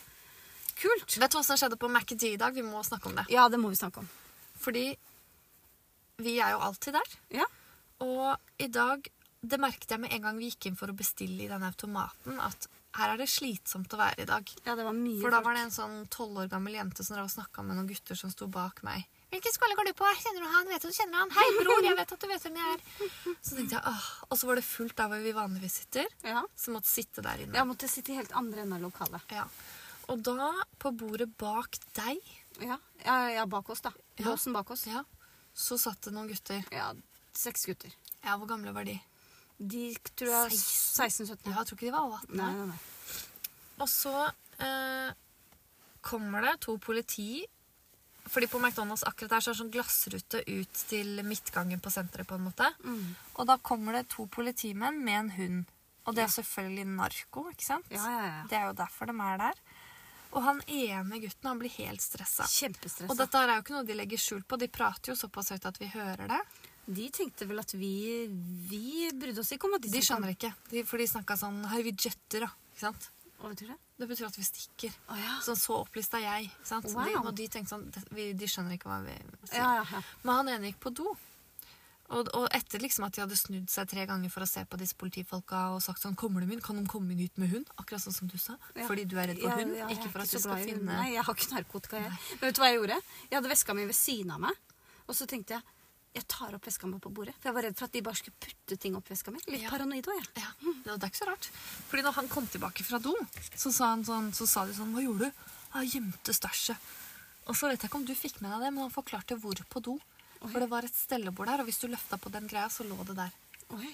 Speaker 2: Kult.
Speaker 1: Vet du hva som skjedde på MacD i dag? Vi må snakke om det.
Speaker 2: Ja, det må vi snakke om.
Speaker 1: Fordi vi er jo alltid der.
Speaker 2: Ja.
Speaker 1: Og i dag Det merket jeg med en gang vi gikk inn for å bestille i den automaten, at her er det slitsomt å være i dag.
Speaker 2: Ja, det var mye
Speaker 1: For da
Speaker 2: folk.
Speaker 1: var det en sånn tolv år gammel jente som snakka med noen gutter som sto bak meg. 'Hvilken skole går du på? Kjenner du han? Vet du at du kjenner han?' 'Hei, bror, jeg vet at du vet hvem jeg er.' Så tenkte jeg, åh. Og så var det fullt der hvor vi vanligvis sitter,
Speaker 2: Ja.
Speaker 1: så måtte sitte der inne.
Speaker 2: Jeg måtte sitte i helt andre enden av lokalet.
Speaker 1: Ja. Og da, på bordet bak deg,
Speaker 2: Ja, ja, ja bak oss, da.
Speaker 1: Ja.
Speaker 2: Låsen bak oss.
Speaker 1: ja, så satt det noen gutter.
Speaker 2: Ja, seks gutter.
Speaker 1: Ja, hvor gamle var de?
Speaker 2: De tror jeg 16-17.
Speaker 1: Ja, jeg tror ikke de var over 18.
Speaker 2: Nei,
Speaker 1: år.
Speaker 2: nei, nei.
Speaker 1: Og så eh, kommer det to politi. Fordi på McDonald's akkurat der så er det sånn glassrute ut til midtgangen på senteret. på en måte.
Speaker 2: Mm.
Speaker 1: Og da kommer det to politimenn med en hund. Og det er selvfølgelig narko, ikke sant?
Speaker 2: Ja, ja, ja.
Speaker 1: Det er jo derfor de er der. Og han ene gutten han blir helt stressa.
Speaker 2: Kjempestressa.
Speaker 1: Og dette her er jo ikke noe de legger skjul på. De prater jo såpass høyt at vi hører det.
Speaker 2: De tenkte vel at vi, vi brydde oss ikke om at de
Speaker 1: De skjønner ikke. De, for de snakka sånn Hei, vi jetter, da. Ikke sant?
Speaker 2: Hva betyr det?
Speaker 1: Det betyr at vi stikker.
Speaker 2: Å ja.
Speaker 1: Sånn, så opplyst er jeg. ikke Sant? Så De,
Speaker 2: Wow.
Speaker 1: og de tenkte sånn det- vi, De skjønner ikke hva vi sier.
Speaker 2: Ja, ja, ja.
Speaker 1: Men han ene gikk på do. Og, og etter liksom at de hadde snudd seg tre ganger for å se på disse politifolka og sagt sånn 'Kommer de inn? Kan de komme inn hit med hund?' Akkurat sånn som du sa.
Speaker 2: Ja.
Speaker 1: Fordi du er redd for
Speaker 2: Ja,
Speaker 1: hund,
Speaker 2: ja, jeg
Speaker 1: ikke
Speaker 2: er
Speaker 1: for at
Speaker 2: så
Speaker 1: du skal
Speaker 2: glad i hund.
Speaker 1: finne
Speaker 2: Nei, jeg har ikke narkotika, jeg. Men vet du hva jeg gjorde? Jeg hadde veska mi ved siden av meg, og så tenkte jeg jeg tar opp veska mi på bordet. For jeg var redd for at de bare skulle putte ting opp i veska mi. Litt
Speaker 1: Ja.
Speaker 2: paranoid òg, jeg.
Speaker 1: Ja, og det er ikke så rart. Fordi når han kom tilbake fra do, så sa, han sånn, så sa de sånn 'Hva gjorde du?' 'Jeg gjemte stæsjet'. Og så vet jeg ikke om du fikk med deg det, men han forklarte hvor på do. For det var et stellebord der, og hvis du løfta på den greia, så lå det der.
Speaker 2: Oi.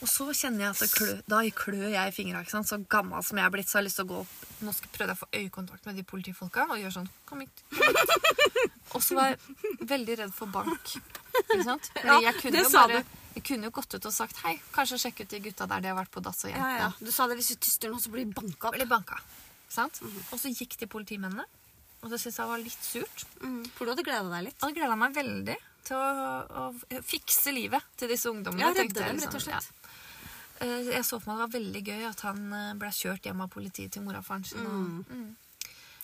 Speaker 1: Og så kjenner jeg at det klø, da klør jeg i fingra. ikke sant? Så gammel som jeg er blitt, så har jeg lyst til å gå opp. Nå skal prøvde jeg å få øyekontakt med de politifolka og gjøre sånn Kom hit. Kom hit. Og så var jeg veldig redd for bank. Ikke sant? Fordi
Speaker 2: Ja,
Speaker 1: jeg kunne
Speaker 2: det
Speaker 1: jo
Speaker 2: sa
Speaker 1: bare
Speaker 2: du.
Speaker 1: jeg kunne jo gått ut og sagt hei, kanskje sjekke ut de gutta der de har vært på dass og
Speaker 2: Ja,
Speaker 1: jenta.
Speaker 2: ja. Du sa det hvis du tyster nå, så blir de banka opp.
Speaker 1: Eller banka. ikke Sant?
Speaker 2: Mhm.
Speaker 1: Og så gikk de politimennene, og det syntes jeg var litt surt.
Speaker 2: Mm. For du hadde gleda deg litt.
Speaker 1: Jeg hadde gleda meg veldig til å, å fikse livet til disse ungdommene.
Speaker 2: Ja, redde
Speaker 1: tenkte jeg
Speaker 2: dem, rett og slett.
Speaker 1: ja. Eh, Jeg så for meg det var veldig gøy at han eh, ble kjørt hjem av politiet til mora og faren sin. og- Mm.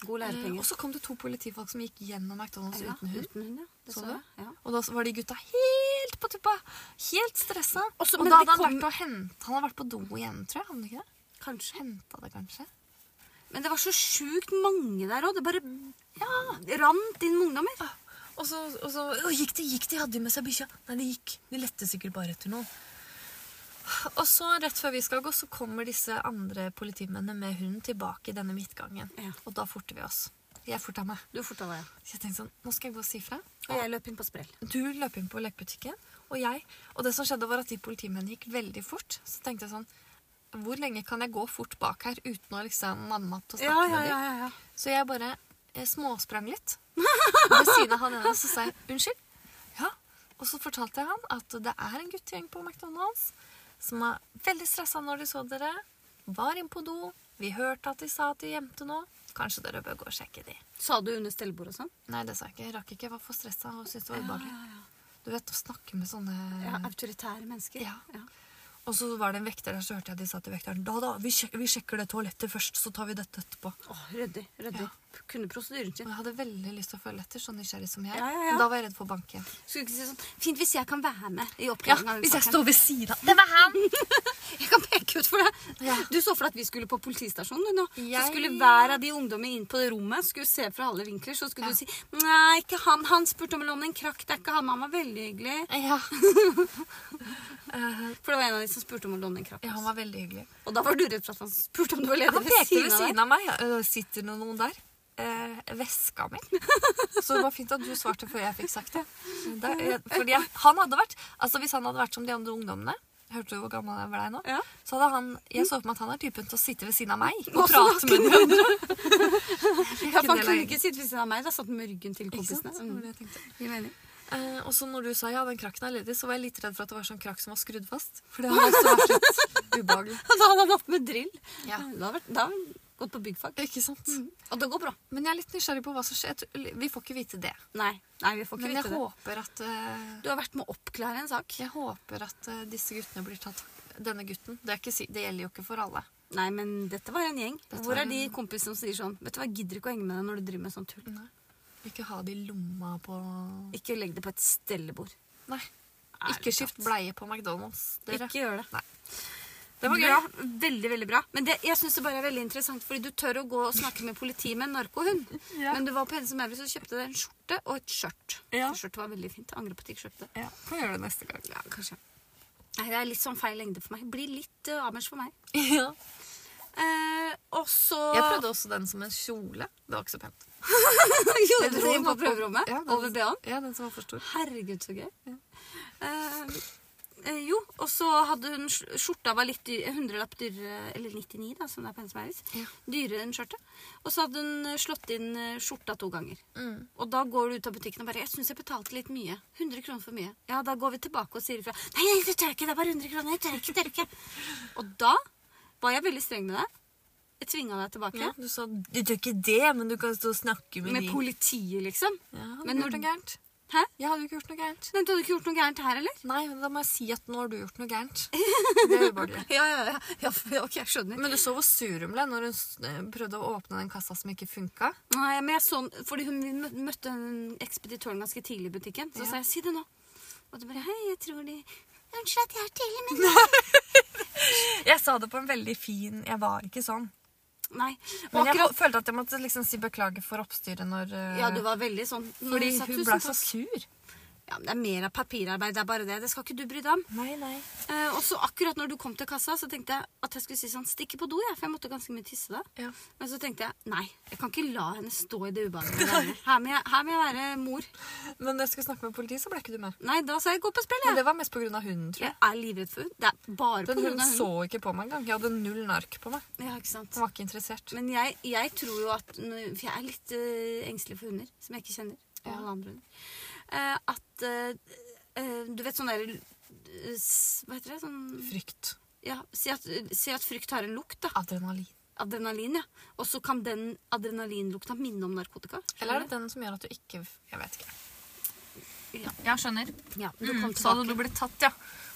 Speaker 2: God
Speaker 1: Eh, Og
Speaker 2: lærepenger.
Speaker 1: så kom det to politifolk som gikk gjennom McDonald's
Speaker 2: Ja,
Speaker 1: Eh, uten hund.
Speaker 2: uten hund, ja. Det
Speaker 1: Så
Speaker 2: sa
Speaker 1: du?
Speaker 2: jeg. Ja.
Speaker 1: Og da var de gutta helt på tuppa. Helt stressa.
Speaker 2: Og så-
Speaker 1: og
Speaker 2: men
Speaker 1: da
Speaker 2: de
Speaker 1: hadde han
Speaker 2: kom-
Speaker 1: vært og hentet Han hadde vært på do igjen, tror jeg. Hadde han ikke det?
Speaker 2: Kanskje.
Speaker 1: Hentet det kanskje?
Speaker 2: Men det var så sjukt mange der òg. Det bare rant inn med ungdommer.
Speaker 1: Ah, Og så, og så og gikk de, gikk de, hadde de med seg bikkja. Nei, de gikk. De lette sikkert bare etter noen. Og så rett før vi skal gå, så kommer disse andre politimennene med hunden tilbake i denne midtgangen.
Speaker 2: Ja.
Speaker 1: Og da forter vi oss. Jeg forta meg.
Speaker 2: Du forta deg.
Speaker 1: Så jeg tenkte sånn, nå skal jeg gå og si fra.
Speaker 2: Og jeg løp inn på sprell.
Speaker 1: Du løp inn på lekebutikken, og jeg. Og det som skjedde var at de politimennene gikk veldig fort. Så tenkte jeg sånn, hvor lenge kan jeg gå fort bak her uten å liksom manne meg opp til å snakke
Speaker 2: Ja,
Speaker 1: med
Speaker 2: ja,
Speaker 1: dem?
Speaker 2: ja, ja, ja.
Speaker 1: Så jeg bare eh, småsprang litt ved siden av han ene, så sa jeg unnskyld. Ja. Og så fortalte jeg han at det er en guttegjeng på McDonald's som er veldig stressa når de så dere. Var inn på do. Vi hørte at de sa at de gjemte noe. Kanskje dere bør gå og sjekke de.
Speaker 2: Sa du under stellebordet og sånn?
Speaker 1: Nei, det sa jeg ikke. Jeg rakk ikke. Jeg var for stressa og syntes det var ubehagelig. Du vet å snakke med sånne
Speaker 2: Ja, autoritære mennesker.
Speaker 1: Ja. Og så var det en vekter der, så hørte jeg de sa til vekteren Da, da, vi sjekker, vi sjekker det toalettet først, så tar vi dette etterpå.
Speaker 2: Åh, ryddig. ryddig. Kunne prosedyren
Speaker 1: Og
Speaker 2: sin.
Speaker 1: jeg hadde veldig lyst til å følge etter, så nysgjerrig som jeg er.
Speaker 2: Ja, ja, ja.
Speaker 1: Men Da var jeg redd for bank igjen.
Speaker 2: Skulle ikke si sånn Fint hvis jeg kan være med i
Speaker 1: Ja,
Speaker 2: oppklaringen av den
Speaker 1: hvis jeg
Speaker 2: saken.
Speaker 1: står ved siden av Det var han!
Speaker 2: Jeg kan peke ut for deg.
Speaker 1: Ja.
Speaker 2: Du så for deg at vi skulle på politistasjonen. du, Nå. Så
Speaker 1: Jeg-
Speaker 2: skulle hver av de ungdommene inn på det rommet, skulle se fra alle vinkler, så skulle
Speaker 1: Ja.
Speaker 2: du si Nei, ikke han. Han spurte om å låne en krakk. Det er ikke han. Han var veldig hyggelig.
Speaker 1: [laughs] Ja.
Speaker 2: For det var en av de som spurte om å låne en krakk.
Speaker 1: han var veldig hyggelig.
Speaker 2: Og da var du redd for at han spurte om du var ledig
Speaker 1: Han
Speaker 2: ved
Speaker 1: pekte ved
Speaker 2: siden av deg.
Speaker 1: siden av meg. Øh, Sitter det noen der? Eh, veska mi. Så det var fint at du svarte før jeg fikk sagt det. Da, jeg, fordi jeg, han hadde vært, altså Hvis han hadde vært som de andre ungdommene Hørte du hvor gammel jeg ble nå?
Speaker 2: Ja.
Speaker 1: Så hadde han, Jeg så for meg at han er typen til å sitte ved siden av meg og
Speaker 2: Og så
Speaker 1: prate med de andre.
Speaker 2: Ja, for han
Speaker 1: det
Speaker 2: kunne
Speaker 1: lenger.
Speaker 2: ikke sitte ved siden av meg. Da satt han med ryggen til
Speaker 1: Ikke sant?
Speaker 2: kompisene.
Speaker 1: Det var det jeg tenkte.
Speaker 2: Mm. Gir mening.
Speaker 1: Eh, og så når du sa ja, den krakken er ledig, så var jeg litt redd for at det var sånn krakk som var skrudd fast. For det hadde også vært litt [laughs] ubehagelig.
Speaker 2: [laughs] Da hadde han hatt med drill.
Speaker 1: Ja.
Speaker 2: Da hadde han vært- gått på byggfag.
Speaker 1: Ikke sant?
Speaker 2: Og det går bra.
Speaker 1: Mm. Men jeg er litt nysgjerrig på hva som skjer. Jeg tror- Vi får ikke vite det.
Speaker 2: Nei, nei vi får ikke
Speaker 1: Men jeg
Speaker 2: vite det.
Speaker 1: håper at, eh,
Speaker 2: Du har vært med å oppklare en sak.
Speaker 1: jeg håper at eh, disse guttene blir tatt Denne gutten. Det, er ikke, si- det gjelder jo ikke for alle.
Speaker 2: Nei, men dette var en gjeng.
Speaker 1: Dette
Speaker 2: Hvor
Speaker 1: var
Speaker 2: er de
Speaker 1: en-
Speaker 2: kompisene som sier sånn Vet du hva, jeg gidder ikke å henge med deg når du driver med sånn tull.
Speaker 1: Ikke ha det i lomma på
Speaker 2: Ikke legg det på et stellebord.
Speaker 1: Nei.
Speaker 2: Ærlig
Speaker 1: Ikke skift
Speaker 2: talt.
Speaker 1: bleie på McDonald's, dere.
Speaker 2: Ikke gjør det.
Speaker 1: Nei. Det var gøy.
Speaker 2: Bra. Veldig, veldig bra. Men det, jeg synes det bare er veldig interessant, fordi du tør å gå og snakke med politiet med en narkohund.
Speaker 1: [laughs] Ja.
Speaker 2: Men du var på Hennes og Maurits og kjøpte deg en skjorte og et skjørt.
Speaker 1: Ja.
Speaker 2: Skjørtet var veldig fint. Jeg angrer på at jeg ikke kjøpte det.
Speaker 1: Ja, kan gjøre det neste gang.
Speaker 2: Ja, kanskje. Nei, det er litt sånn feil lengde for meg. Det blir litt uh, Amers for meg.
Speaker 1: [laughs] Ja.
Speaker 2: Eh, og så
Speaker 1: Jeg
Speaker 2: [laughs]
Speaker 1: prøvde også den som en kjole. Det var ikke så pent.
Speaker 2: Gjorde du
Speaker 1: Den
Speaker 2: det
Speaker 1: som
Speaker 2: inn på
Speaker 1: var for-
Speaker 2: prøverommet?
Speaker 1: Ja, den-
Speaker 2: Over BH-en?
Speaker 1: Ja, den som var for stor.
Speaker 2: Herregud, så gøy. Eh, eh, jo, og så hadde hun sk- Skjorta var litt dyr, 100-lapp dyrere, eller 99, da, som det er på Hennes og Maurits.
Speaker 1: Ja.
Speaker 2: Dyrere enn skjørtet. Og så hadde hun eh, slått inn eh, skjorta to ganger. Og da går du ut av butikken og bare 'Jeg syns jeg betalte litt mye. 100 kroner for mye.' Ja, da går vi tilbake og sier ifra. 'Nei, nei, det tør jeg ikke. Det er bare 100 kroner. Jeg tør ikke, tør ikke.' og da var jeg veldig streng med deg. Jeg tvinga deg tilbake.
Speaker 1: Ja, du sa du gjør ikke det, men du kan stå og snakke med,
Speaker 2: Med
Speaker 1: de.
Speaker 2: politiet, liksom.
Speaker 1: Ja, hadde
Speaker 2: Men
Speaker 1: du gjort
Speaker 2: når-
Speaker 1: noe gærent?
Speaker 2: Hæ?
Speaker 1: Jeg hadde jo ikke gjort noe gærent.
Speaker 2: Men du hadde ikke gjort noe gærent her, eller?
Speaker 1: Nei, men da må jeg si at nå har du gjort noe gærent. [laughs] Det er ubehagelig.
Speaker 2: Ja, ja, ja. ja for- ok, jeg skjønner.
Speaker 1: Men du så hvor sur hun ble når hun s- eh, prøvde å åpne den kassa som ikke funka.
Speaker 2: Nei, men jeg så, den- fordi hun vi mø- møtte den ekspeditøren ganske tidlig i butikken. Så
Speaker 1: Ja.
Speaker 2: sa jeg 'si det nå'. Og du bare 'hei, jeg tror de Unnskyld at jeg er tidlig, men
Speaker 1: [laughs] Jeg sa det på en veldig fin Jeg var ikke sånn.
Speaker 2: Nei. Og
Speaker 1: Men jeg
Speaker 2: akkurat
Speaker 1: følte at jeg måtte liksom si beklager for oppstyret når eh,
Speaker 2: Ja, du var veldig sånn når
Speaker 1: Fordi
Speaker 2: du sa,
Speaker 1: hun
Speaker 2: «Tusen
Speaker 1: ble
Speaker 2: takk».
Speaker 1: så sur.
Speaker 2: Ja, men Det er mer av papirarbeid, det er bare det. Det skal ikke du bry deg om.
Speaker 1: Nei, nei.
Speaker 2: Eh, og så akkurat når du kom til kassa, så tenkte jeg at jeg skulle si sånn Stikke på do, jeg, for jeg måtte ganske mye tisse da.
Speaker 1: Ja.
Speaker 2: Men så tenkte jeg nei, jeg kan ikke la henne stå i det ubehagelige. greiene. Her, må jeg- her må jeg være mor.
Speaker 1: Men når jeg skulle snakke med politiet, så ble ikke du med.
Speaker 2: Nei, da sa jeg gå på spill,
Speaker 1: Men
Speaker 2: jeg.
Speaker 1: det var mest pga. hunden, tror
Speaker 2: Jeg
Speaker 1: jeg.
Speaker 2: er livredd for hund. Det er bare på
Speaker 1: Den
Speaker 2: grunn
Speaker 1: hunden
Speaker 2: av
Speaker 1: så
Speaker 2: hunden.
Speaker 1: ikke på meg engang. Jeg hadde null nark på meg.
Speaker 2: Ja, ikke sant?
Speaker 1: Den var ikke interessert.
Speaker 2: Men jeg, jeg tror jo at når- For jeg er litt eh, engstelig for hunder som jeg ikke kjenner. Og
Speaker 1: Ja.
Speaker 2: alle andre hunder. Eh, at eh, eh, Du vet sånn der eh, s- Hva heter det? Sånn
Speaker 1: Frykt.
Speaker 2: Ja, si at, si at frykt har en lukt, da.
Speaker 1: Adrenalin.
Speaker 2: Adrenalin, ja. Og så kan den adrenalinlukta minne om narkotika. Skjønner
Speaker 1: Eller er
Speaker 2: du?
Speaker 1: det den som gjør at du ikke Jeg vet ikke.
Speaker 2: Ja.
Speaker 1: Jeg skjønner.
Speaker 2: Ja, du
Speaker 1: Mm,
Speaker 2: kom
Speaker 1: så hadde
Speaker 2: tilbake.
Speaker 1: du blitt tatt, ja.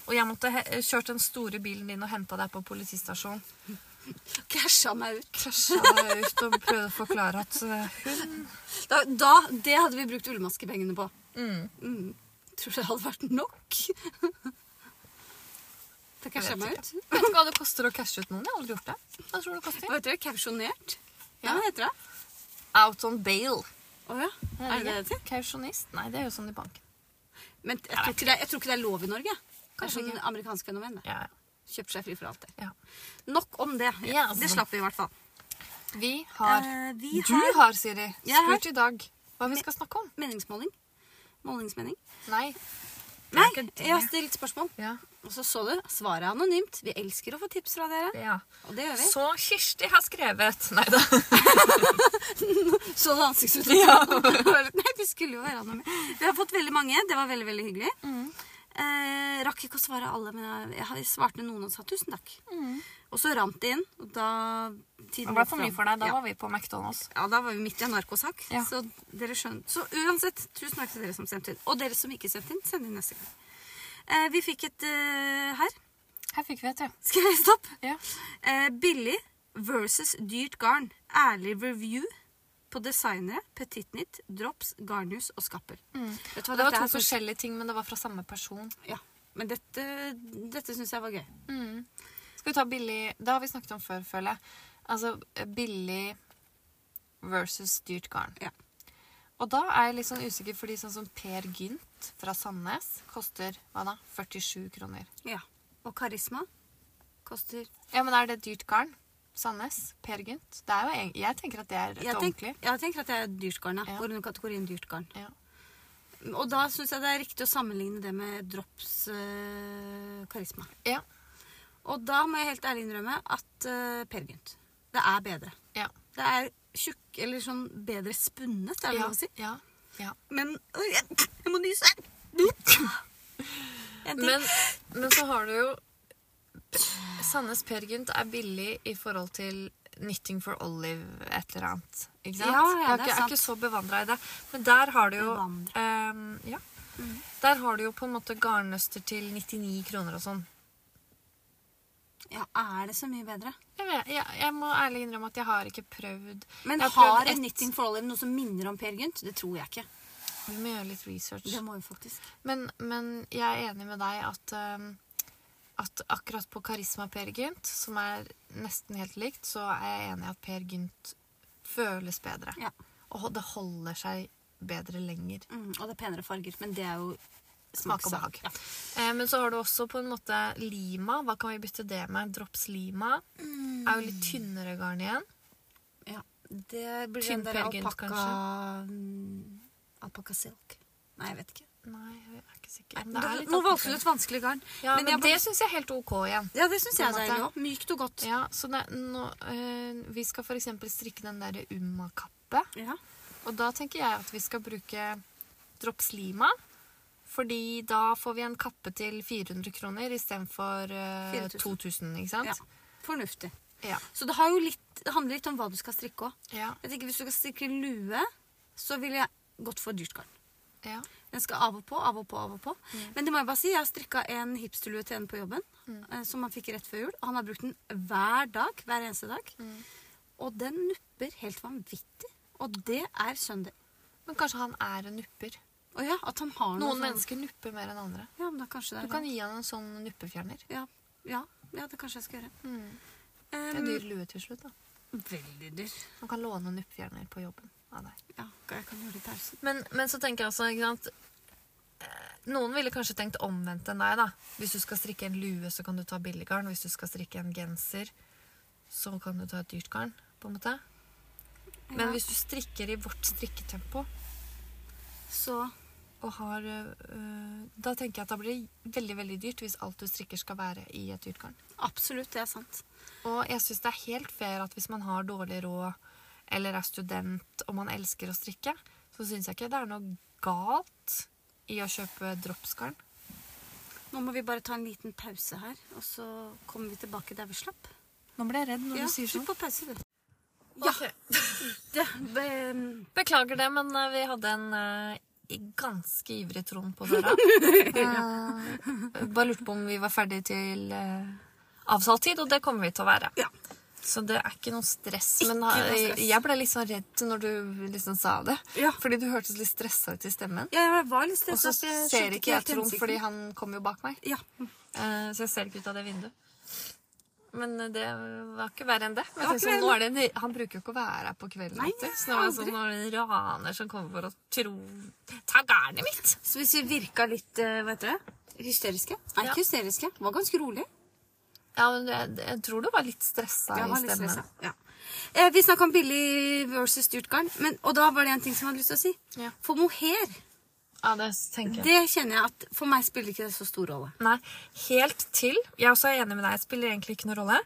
Speaker 1: Og jeg måtte he- kjørt den store bilen din og henta deg på politistasjonen.
Speaker 2: Casha meg ut.
Speaker 1: Krasja deg ut og prøvde å forklare
Speaker 2: [laughs]
Speaker 1: at eh, hun
Speaker 2: Da, da, det hadde vi brukt ullmaskepengene på.
Speaker 1: mm,
Speaker 2: Mm. Tror du det hadde vært nok? [laughs] Det
Speaker 1: jeg
Speaker 2: casha
Speaker 1: vet,
Speaker 2: meg
Speaker 1: ikke.
Speaker 2: ut.
Speaker 1: Jeg vet ikke hva det koster å cashe ut noen. Jeg har aldri gjort det. Hva tror du det koster?
Speaker 2: Hva heter det? Kausjonert?
Speaker 1: Ja.
Speaker 2: Ja, hva heter det?
Speaker 1: Out on bail.
Speaker 2: Å ja. Er det det det heter?
Speaker 1: Kausjonist? Nei, det er jo sånn i banken.
Speaker 2: Men jeg tror, ikke det, jeg tror ikke det er lov i Norge.
Speaker 1: Kanskje
Speaker 2: Kanskje sånn amerikansk fenomen. det.
Speaker 1: Ja,
Speaker 2: Kjøper seg fri for alt det.
Speaker 1: ja.
Speaker 2: Nok om det.
Speaker 1: Ja, altså.
Speaker 2: Det slapp vi i hvert fall.
Speaker 1: Vi har
Speaker 2: Eh, vi
Speaker 1: Du
Speaker 2: har
Speaker 1: har, Siri,
Speaker 2: Jeg har-
Speaker 1: spurt i dag hva vi skal snakke om.
Speaker 2: meningsmåling. Målingsmening.
Speaker 1: Nei.
Speaker 2: Nei,
Speaker 1: Det er ikke det.
Speaker 2: jeg har stilt spørsmål.
Speaker 1: Ja.
Speaker 2: Og så så du, svaret er anonymt. Vi elsker å få tips fra dere.
Speaker 1: ja.
Speaker 2: Og det gjør vi.
Speaker 1: Så Kirsti har skrevet Nei da.
Speaker 2: Så du ansiktsuttrykket? [laughs] Nei, vi skulle jo være anonyme. Vi har fått veldig mange. Det var veldig, veldig hyggelig.
Speaker 1: Mm.
Speaker 2: Eh, rakk ikke å svare alle, men jeg, jeg har svarte noen og sa tusen takk. Og så rant det inn. Og da tiden
Speaker 1: Mm. Det ble
Speaker 2: gikk
Speaker 1: for mye
Speaker 2: fram.
Speaker 1: for deg. Da
Speaker 2: Ja.
Speaker 1: var vi på McDonald's.
Speaker 2: Ja, da var vi midt i en narkosak.
Speaker 1: Ja.
Speaker 2: Så dere skjønner. Så uansett, tusen takk til dere som sendte inn. Og dere som ikke sendte inn, send inn neste gang. Eh, vi fikk et eh, her. [laughs]
Speaker 1: Her fikk vi et, ja.
Speaker 2: Skal jeg lese det opp?
Speaker 1: ja.
Speaker 2: Eh, billig versus dyrt garn. Ærlig review på designere, Petit Knit, Drops, Garnhus og Skapper. Vet du hva
Speaker 1: Mm. Det var
Speaker 2: dette
Speaker 1: to
Speaker 2: er for-
Speaker 1: forskjellige ting, men det var fra samme person.
Speaker 2: Ja. Men dette, dette syns jeg var gøy.
Speaker 1: Skal vi ta billig Det har vi snakket om før, føler jeg. Altså eh, billig versus dyrt garn.
Speaker 2: Ja.
Speaker 1: Og da er jeg litt sånn usikker, fordi sånn som Per Gynt fra Sandnes koster hva da? 47 kroner.
Speaker 2: Ja. Og karisma koster
Speaker 1: Ja, men er det dyrt garn? Sandnes? Per Gynt? Det er jo, en- jeg tenker at det er et
Speaker 2: jeg, tenk,
Speaker 1: ordentlig.
Speaker 2: jeg tenker at det er dyrt garn. Ja.
Speaker 1: Ja.
Speaker 2: Går under kategorien dyrt garn.
Speaker 1: Ja.
Speaker 2: Og da syns jeg det er riktig å sammenligne det med drops eh, karisma.
Speaker 1: ja.
Speaker 2: Og da må jeg helt ærlig innrømme at eh, Per Gynt. Det er bedre.
Speaker 1: Ja.
Speaker 2: Det er tjukk, eller sånn bedre spunnet, er det
Speaker 1: Ja.
Speaker 2: lov å si.
Speaker 1: ja. ja.
Speaker 2: Men Oi, jeg, jeg må nyse! En ting.
Speaker 1: Men, men så har du jo Sandnes Per Gynt er billig i forhold til Knitting for Olive et eller annet. Ikke
Speaker 2: Ja,
Speaker 1: sant?
Speaker 2: ja,
Speaker 1: jeg er
Speaker 2: det er
Speaker 1: ikke, jeg
Speaker 2: sant.
Speaker 1: er ikke så bevandra i det. Men der har du jo ehm, ja.
Speaker 2: Mm.
Speaker 1: Der har du jo på en måte garnnøster til 99 kroner og sånn.
Speaker 2: ja, er det så mye bedre?
Speaker 1: Jeg, vet, jeg, jeg må ærlig innrømme at jeg har ikke prøvd
Speaker 2: Men
Speaker 1: jeg prøvd
Speaker 2: har
Speaker 1: ett-
Speaker 2: en knitting for olive noe som minner om Per Gynt? Det tror jeg ikke.
Speaker 1: Vi må gjøre litt research.
Speaker 2: Det må vi faktisk.
Speaker 1: Men, men jeg er enig med deg at, um, at akkurat på Karisma Per Gynt, som er nesten helt likt, så er jeg enig i at Per Gynt føles bedre.
Speaker 2: Ja.
Speaker 1: Og det holder seg bedre lenger.
Speaker 2: Mm, og det er penere farger, men det er jo
Speaker 1: Smak og behag.
Speaker 2: Ja.
Speaker 1: Eh, men så har du også på en måte lima. Hva kan vi bytte det med? Drops lima. Er jo litt tynnere garn igjen.
Speaker 2: Ja. Det blir
Speaker 1: Tynn
Speaker 2: den der
Speaker 1: Per Gynt,
Speaker 2: alpakka
Speaker 1: kanskje?
Speaker 2: mm, Alpakka silk. Nei, jeg vet ikke.
Speaker 1: Nei, jeg er ikke sikker. Men det er
Speaker 2: Du,
Speaker 1: litt
Speaker 2: nå
Speaker 1: opp-
Speaker 2: valgte du et vanskelig garn.
Speaker 1: Ja,
Speaker 2: men
Speaker 1: men,
Speaker 2: jeg bare-
Speaker 1: det syns jeg er helt OK igjen.
Speaker 2: Ja, det syns jeg er
Speaker 1: På en
Speaker 2: deilig
Speaker 1: måte.
Speaker 2: òg. Mykt og godt.
Speaker 1: Ja, så det, nå, eh, Vi skal f.eks. strikke den derre umma-kappe.
Speaker 2: Ja.
Speaker 1: Og da tenker jeg at vi skal bruke drops lima. Fordi da får vi en kappe til 400 kroner istedenfor uh,
Speaker 2: 4000.
Speaker 1: 2000, ikke
Speaker 2: ja.
Speaker 1: sant?
Speaker 2: Fornuftig.
Speaker 1: Ja.
Speaker 2: Så det, har jo litt, det handler litt om hva du skal strikke òg.
Speaker 1: Ja.
Speaker 2: Jeg tenker Hvis du skal strikke lue, så ville jeg gått for dyrt garn.
Speaker 1: ja.
Speaker 2: Den skal av og på, av og på, av og på.
Speaker 1: Mm.
Speaker 2: Men det må jeg bare si, jeg har strikka en hipsterlue til en på jobben, eh, som han fikk rett før jul. Han har brukt den hver dag, hver eneste dag.
Speaker 1: Mm.
Speaker 2: Og den nupper helt vanvittig. Og det er søndag.
Speaker 1: Men kanskje han er en nupper.
Speaker 2: Å ja, at han har noe
Speaker 1: Noen
Speaker 2: sånn-
Speaker 1: mennesker nupper mer enn andre.
Speaker 2: Ja, men da kanskje det
Speaker 1: Du
Speaker 2: er
Speaker 1: kan
Speaker 2: det.
Speaker 1: gi han en sånn nuppefjerner.
Speaker 2: ja, ja, ja, det kanskje jeg skal gjøre.
Speaker 1: Det
Speaker 2: Um,
Speaker 1: er dyr lue til slutt, da.
Speaker 2: Veldig dyr.
Speaker 1: Man kan låne nuppefjerner på jobben av deg.
Speaker 2: Ja, jeg kan gjøre det i pausen.
Speaker 1: Men, men så tenker jeg altså, ikke sant eh, Noen ville kanskje tenkt omvendt enn deg, da. Hvis du skal strikke en lue, så kan du ta billiggarn. Hvis du skal strikke en genser, så kan du ta et dyrt garn, på en måte. Men
Speaker 2: Ja.
Speaker 1: hvis du strikker i vårt strikketempo
Speaker 2: Så
Speaker 1: og har eh, eh, Da tenker jeg at da blir det veldig veldig dyrt hvis alt du strikker skal være i et dyrt garn.
Speaker 2: absolutt, det er sant.
Speaker 1: Og jeg syns det er helt fair at hvis man har dårlig råd, eller er student og man elsker å strikke, så syns jeg ikke det er noe galt i å kjøpe dropsgarn.
Speaker 2: Nå må vi bare ta en liten pause her, og så kommer vi tilbake der vi slapp.
Speaker 1: Nå ble jeg redd når sånn.
Speaker 2: ja, slutt på pause, du.
Speaker 1: Ja.
Speaker 2: [laughs] Det, be-
Speaker 1: [laughs] Beklager det, men eh, vi hadde en eh, ganske ivrig Trond på
Speaker 2: [laughs]
Speaker 1: døra. Eh, bare lurte på om vi var ferdig til eh, avtalt tid, og det kommer vi til å være.
Speaker 2: ja.
Speaker 1: Så det er ikke noe stress.
Speaker 2: Ikke
Speaker 1: men
Speaker 2: noe
Speaker 1: eh,
Speaker 2: stress.
Speaker 1: jeg ble litt sånn redd når du liksom sa det.
Speaker 2: Ja.
Speaker 1: Fordi du hørtes litt stressa ut i stemmen.
Speaker 2: Ja, jeg var litt
Speaker 1: Og så
Speaker 2: stressa. jeg
Speaker 1: ser
Speaker 2: skjønte
Speaker 1: ikke jeg
Speaker 2: helt
Speaker 1: Trond,
Speaker 2: hensikten.
Speaker 1: fordi han kommer jo bak meg.
Speaker 2: Ja.
Speaker 1: Eh, Så jeg ser ikke ut av det vinduet. Men eh, det var ikke verre enn det. Men
Speaker 2: var
Speaker 1: jeg
Speaker 2: ikke
Speaker 1: tenkte sånn, nå er det en, han bruker jo ikke å være her på kvelden.
Speaker 2: Nei,
Speaker 1: vet du. så nå er det
Speaker 2: aldri.
Speaker 1: sånn når det er en raner som kommer for å tro Ta garnet mitt!
Speaker 2: Så hvis vi virka litt eh, hva heter det? hysteriske Nei,
Speaker 1: Ja.
Speaker 2: ikke hysteriske. Var ganske rolig.
Speaker 1: Ja, men jeg, jeg tror du var litt stressa
Speaker 2: Jeg
Speaker 1: i
Speaker 2: var litt
Speaker 1: stemmen.
Speaker 2: stressa. Ja. Eh, vi snakka om billig versus dyrt garn, men, og da var det en ting som jeg hadde lyst til å si.
Speaker 1: Ja.
Speaker 2: For mohair,
Speaker 1: Ja, det tenker jeg.
Speaker 2: det kjenner jeg at for meg spiller ikke det så stor rolle.
Speaker 1: Nei, helt til Jeg også er enig med deg, spiller egentlig ikke noen rolle.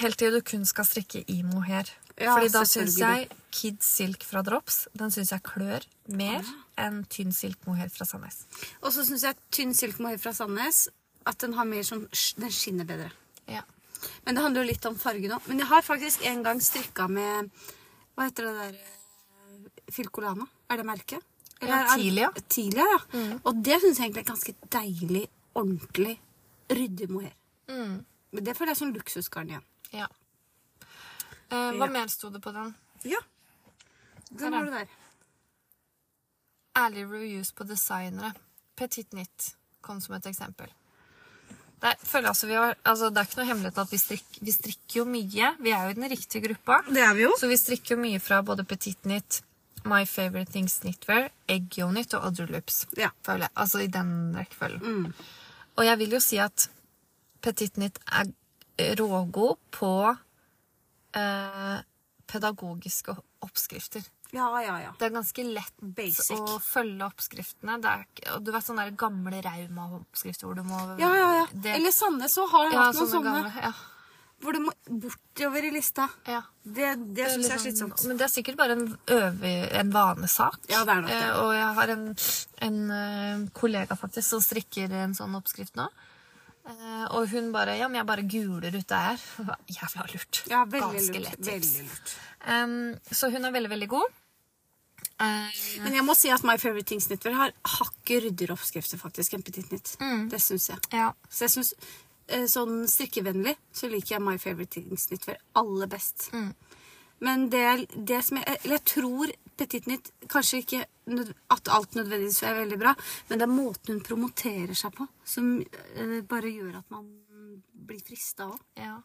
Speaker 1: Helt til du kun skal strikke i mohair.
Speaker 2: Ja,
Speaker 1: Fordi da syns
Speaker 2: selvfølgelig.
Speaker 1: jeg Kid Silk fra Drops den synes jeg klør mer enn tynn silk mohair fra Sandnes.
Speaker 2: Og så syns jeg tynn silkemohair fra Sandnes at den har mer sånn sk- Den skinner bedre.
Speaker 1: Ja.
Speaker 2: Men det handler jo litt om fargen òg. Men jeg har faktisk en gang strikka med Hva heter det der eh, Filcolana? Er det merket?
Speaker 1: Ja,
Speaker 2: er-
Speaker 1: Tilia.
Speaker 2: Tilia, Mm. ja. Og det syns jeg egentlig er ganske deilig, ordentlig, ryddig mohair. Mm. Men det føler jeg er sånn luksusgarn igjen.
Speaker 1: ja. Eh, hva
Speaker 2: Ja.
Speaker 1: mer sto det på den?
Speaker 2: Ja. Den
Speaker 1: Der er
Speaker 2: har du der.
Speaker 1: Ærlig reviews på designere. Petit Nit kom som et eksempel. Det er, føler jeg altså, vi har, altså, det er ikke noe hemmelighet at vi, strikk, vi strikker jo mye. Vi er jo i den riktige gruppa.
Speaker 2: Det er vi jo.
Speaker 1: Så vi strikker jo mye fra både Petit Knit, My Favorite Things Knitwear, Egg Yo Knit og Other Loops.
Speaker 2: Ja. Mm.
Speaker 1: Føler jeg. Altså i den rekkefølgen. Og jeg vil jo si at Petit Knit er rågod på eh, pedagogiske oppskrifter.
Speaker 2: Ja, ja, ja.
Speaker 1: Det er ganske lett
Speaker 2: Basic.
Speaker 1: å følge oppskriftene. Det er, ikke- og du vet sånne der gamle Rauma-oppskrifter hvor du må
Speaker 2: Ja, ja, ja.
Speaker 1: Det,
Speaker 2: Eller Sandnes òg har
Speaker 1: ja,
Speaker 2: hatt noen sånne,
Speaker 1: gamle.
Speaker 2: hvor du må bortover i lista.
Speaker 1: Ja, ja.
Speaker 2: Det, det syns jeg er
Speaker 1: Eller sånn-
Speaker 2: slitsomt.
Speaker 1: Men det er sikkert bare en, øve, en vanesak.
Speaker 2: Ja, det er nok det.
Speaker 1: Eh, og jeg har en, en eh, kollega faktisk som strikker en sånn oppskrift nå. Eh, og hun bare Ja, men jeg bare guler ut det her. [laughs] Jævla lurt.
Speaker 2: Ja, veldig
Speaker 1: Ganske
Speaker 2: lurt.
Speaker 1: lett tips.
Speaker 2: Veldig lurt.
Speaker 1: Em, så hun er veldig, veldig god. Eh,
Speaker 2: Men jeg må si at My Favorite Things Knitwear har hakket ryddigere oppskrifter faktisk enn Petit Knit. Det syns jeg.
Speaker 1: ja.
Speaker 2: Så jeg synes, eh, sånn strikkevennlig så liker jeg My Favorite Things Knitwear aller best. Men det, det som jeg Eller jeg tror Petit Nytt Kanskje ikke nød- at alt nødvendigvis er veldig bra, men det er måten hun promoterer seg på, som eh, bare gjør at man blir frista òg.
Speaker 1: Ja.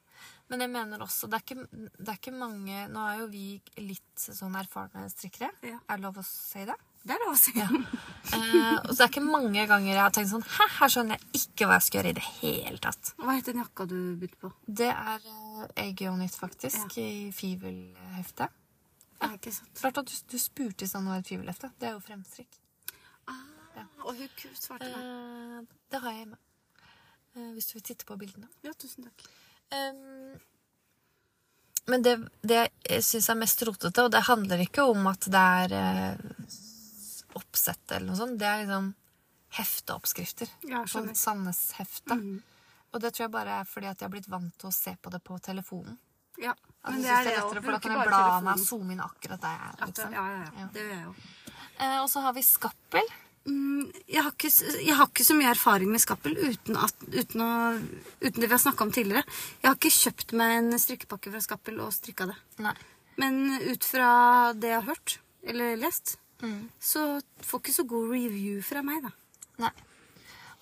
Speaker 1: Men jeg mener også det er, ikke, det er ikke mange Nå er jo vi litt sånn erfarne strikkere.
Speaker 2: Ja.
Speaker 1: Er det lov å si det?
Speaker 2: Det er lov å si.
Speaker 1: Ja. Eh, og så det er ikke mange ganger jeg har tenkt sånn Hæ, her skjønner jeg ikke hva jeg skal gjøre i det hele tatt.
Speaker 2: [laughs] Hva het den jakka du begynte på?
Speaker 1: Det er uh, Egionit, faktisk, i Fivelheftet.
Speaker 2: Ja, ikke sant?
Speaker 1: Klart at du, du spurte i stand hva et fivelhefte er. Det er jo fremstrikk.
Speaker 2: Ah, Og hun svarte meg.
Speaker 1: Eh, det har jeg hjemme. Eh, hvis du vil titte på bildene.
Speaker 2: Ja, tusen takk.
Speaker 1: Ehm, men det, det jeg syns er mest rotete, og det handler ikke om at det er eh, oppsett eller noe sånt, det er liksom hefteoppskrifter.
Speaker 2: Ja,
Speaker 1: På
Speaker 2: skjønner. Mm.
Speaker 1: Sandnes-heftet. Og det tror jeg bare er fordi at jeg har blitt vant til å se på det på telefonen.
Speaker 2: Ja,
Speaker 1: At
Speaker 2: men
Speaker 1: jeg
Speaker 2: det er
Speaker 1: synes
Speaker 2: det
Speaker 1: er
Speaker 2: å
Speaker 1: lettere, for da
Speaker 2: bruke
Speaker 1: kan jeg
Speaker 2: bare
Speaker 1: bla meg og
Speaker 2: telefonen.
Speaker 1: zoome inn akkurat der jeg er.
Speaker 2: At,
Speaker 1: Liksom.
Speaker 2: ja, ja, ja.
Speaker 1: Ja.
Speaker 2: Det gjør jeg òg.
Speaker 1: Eh, og så har vi skappel.
Speaker 2: Mm, jeg, har ikke, s- jeg har ikke så mye erfaring med skappel uten, at, uten, å, uten det vi har snakka om tidligere. Jeg har ikke kjøpt meg en strikkepakke fra skappel og strikka det.
Speaker 1: Nei.
Speaker 2: Men ut fra det jeg har hørt, eller lest,
Speaker 1: Mm.
Speaker 2: så får ikke så god review fra meg, da.
Speaker 1: Nei.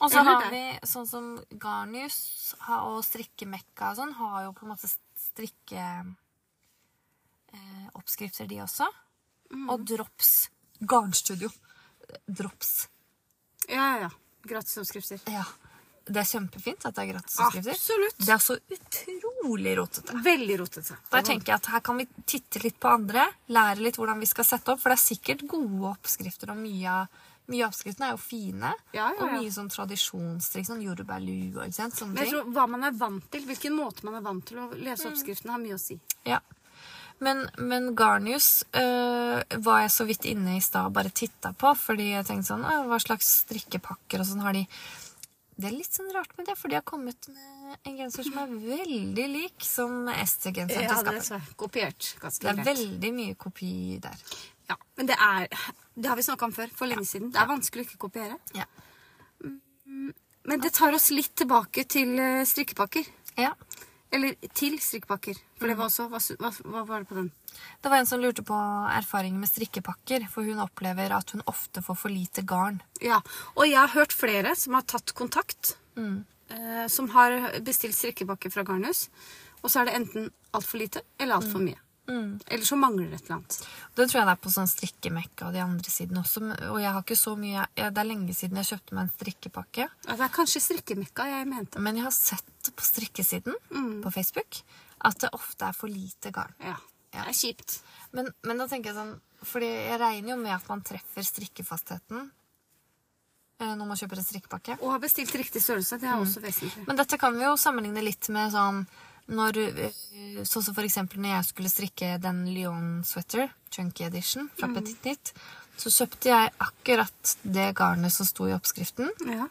Speaker 1: Og så
Speaker 2: Eller
Speaker 1: har
Speaker 2: deg.
Speaker 1: vi sånn som Garnius har- og strikkemekka og sånn, har jo på en måte strikkeoppskrifter, eh, oppskrifter de også.
Speaker 2: Mm.
Speaker 1: Og Drops. Garnstudio. Drops.
Speaker 2: Ja, ja, ja. Gratisoppskrifter.
Speaker 1: Ja. Det er kjempefint at det er
Speaker 2: Ah,
Speaker 1: gratisoppskrifter.
Speaker 2: Absolutt.
Speaker 1: Det er så utrolig rotete.
Speaker 2: Veldig rotete.
Speaker 1: Der tenker jeg at her kan vi titte litt på andre, lære litt hvordan vi skal sette opp, for det er sikkert gode oppskrifter, og mye av mye av oppskriftene er jo fine,
Speaker 2: Ja, ja,
Speaker 1: og
Speaker 2: ja.
Speaker 1: mye sånn tradisjonstrikk, sånn jordbærlue og ikke sant, sånne
Speaker 2: Men jeg
Speaker 1: ting.
Speaker 2: tror hva man er vant til, hvilken måte man er vant til å lese
Speaker 1: Mm.
Speaker 2: oppskriften, har mye å si.
Speaker 1: Ja. Men, men Garnius øh, var jeg så vidt inne i stad og bare titta på, fordi jeg tenkte sånn, «Åh, hva slags strikkepakker og sånn har de? Det er litt sånn rart med det, for de har kommet med en genser som er veldig lik som Ester-genseren
Speaker 2: Ja,
Speaker 1: til
Speaker 2: det er
Speaker 1: Skappen.
Speaker 2: svært kopiert ganske
Speaker 1: Det er
Speaker 2: greit.
Speaker 1: veldig mye kopi der.
Speaker 2: Ja, men det er Det har vi snakka om før, for lenge siden. Det er vanskelig å ikke kopiere.
Speaker 1: Ja.
Speaker 2: Men det tar oss litt tilbake til eh, strikkepakker.
Speaker 1: ja.
Speaker 2: Eller til strikkepakker. For det var også Hva, su- hva, hva var det på den?
Speaker 1: Det var en som lurte på erfaringen med strikkepakker, for hun opplever at hun ofte får for lite garn.
Speaker 2: Ja. Og jeg har hørt flere som har tatt kontakt. eh, som har bestilt strikkepakke fra Garnhus. Og så er det enten altfor lite eller altfor mye. Eller så mangler det et eller annet.
Speaker 1: Det tror jeg det er på sånn strikkemekka og de andre sidene også, men- og jeg har ikke så mye, jeg, det er lenge siden jeg kjøpte meg en strikkepakke,
Speaker 2: Ja, det er kanskje strikkemekka jeg mente.
Speaker 1: men jeg har sett på strikkesiden på Facebook at det ofte er for lite garn.
Speaker 2: Ja. Det er kjipt.
Speaker 1: Men, men da tenker jeg sånn, fordi jeg regner jo med at man treffer strikkefastheten eh, når man kjøper en strikkepakke.
Speaker 2: Å ha bestilt riktig størrelse, det er også vesentlig.
Speaker 1: Men dette kan vi jo sammenligne litt med sånn når, øh, Sånn som for eksempel når jeg skulle strikke den Lyon sweater, chunky edition, fra Petit Nit, så kjøpte jeg akkurat det garnet som sto i oppskriften.
Speaker 2: Ja.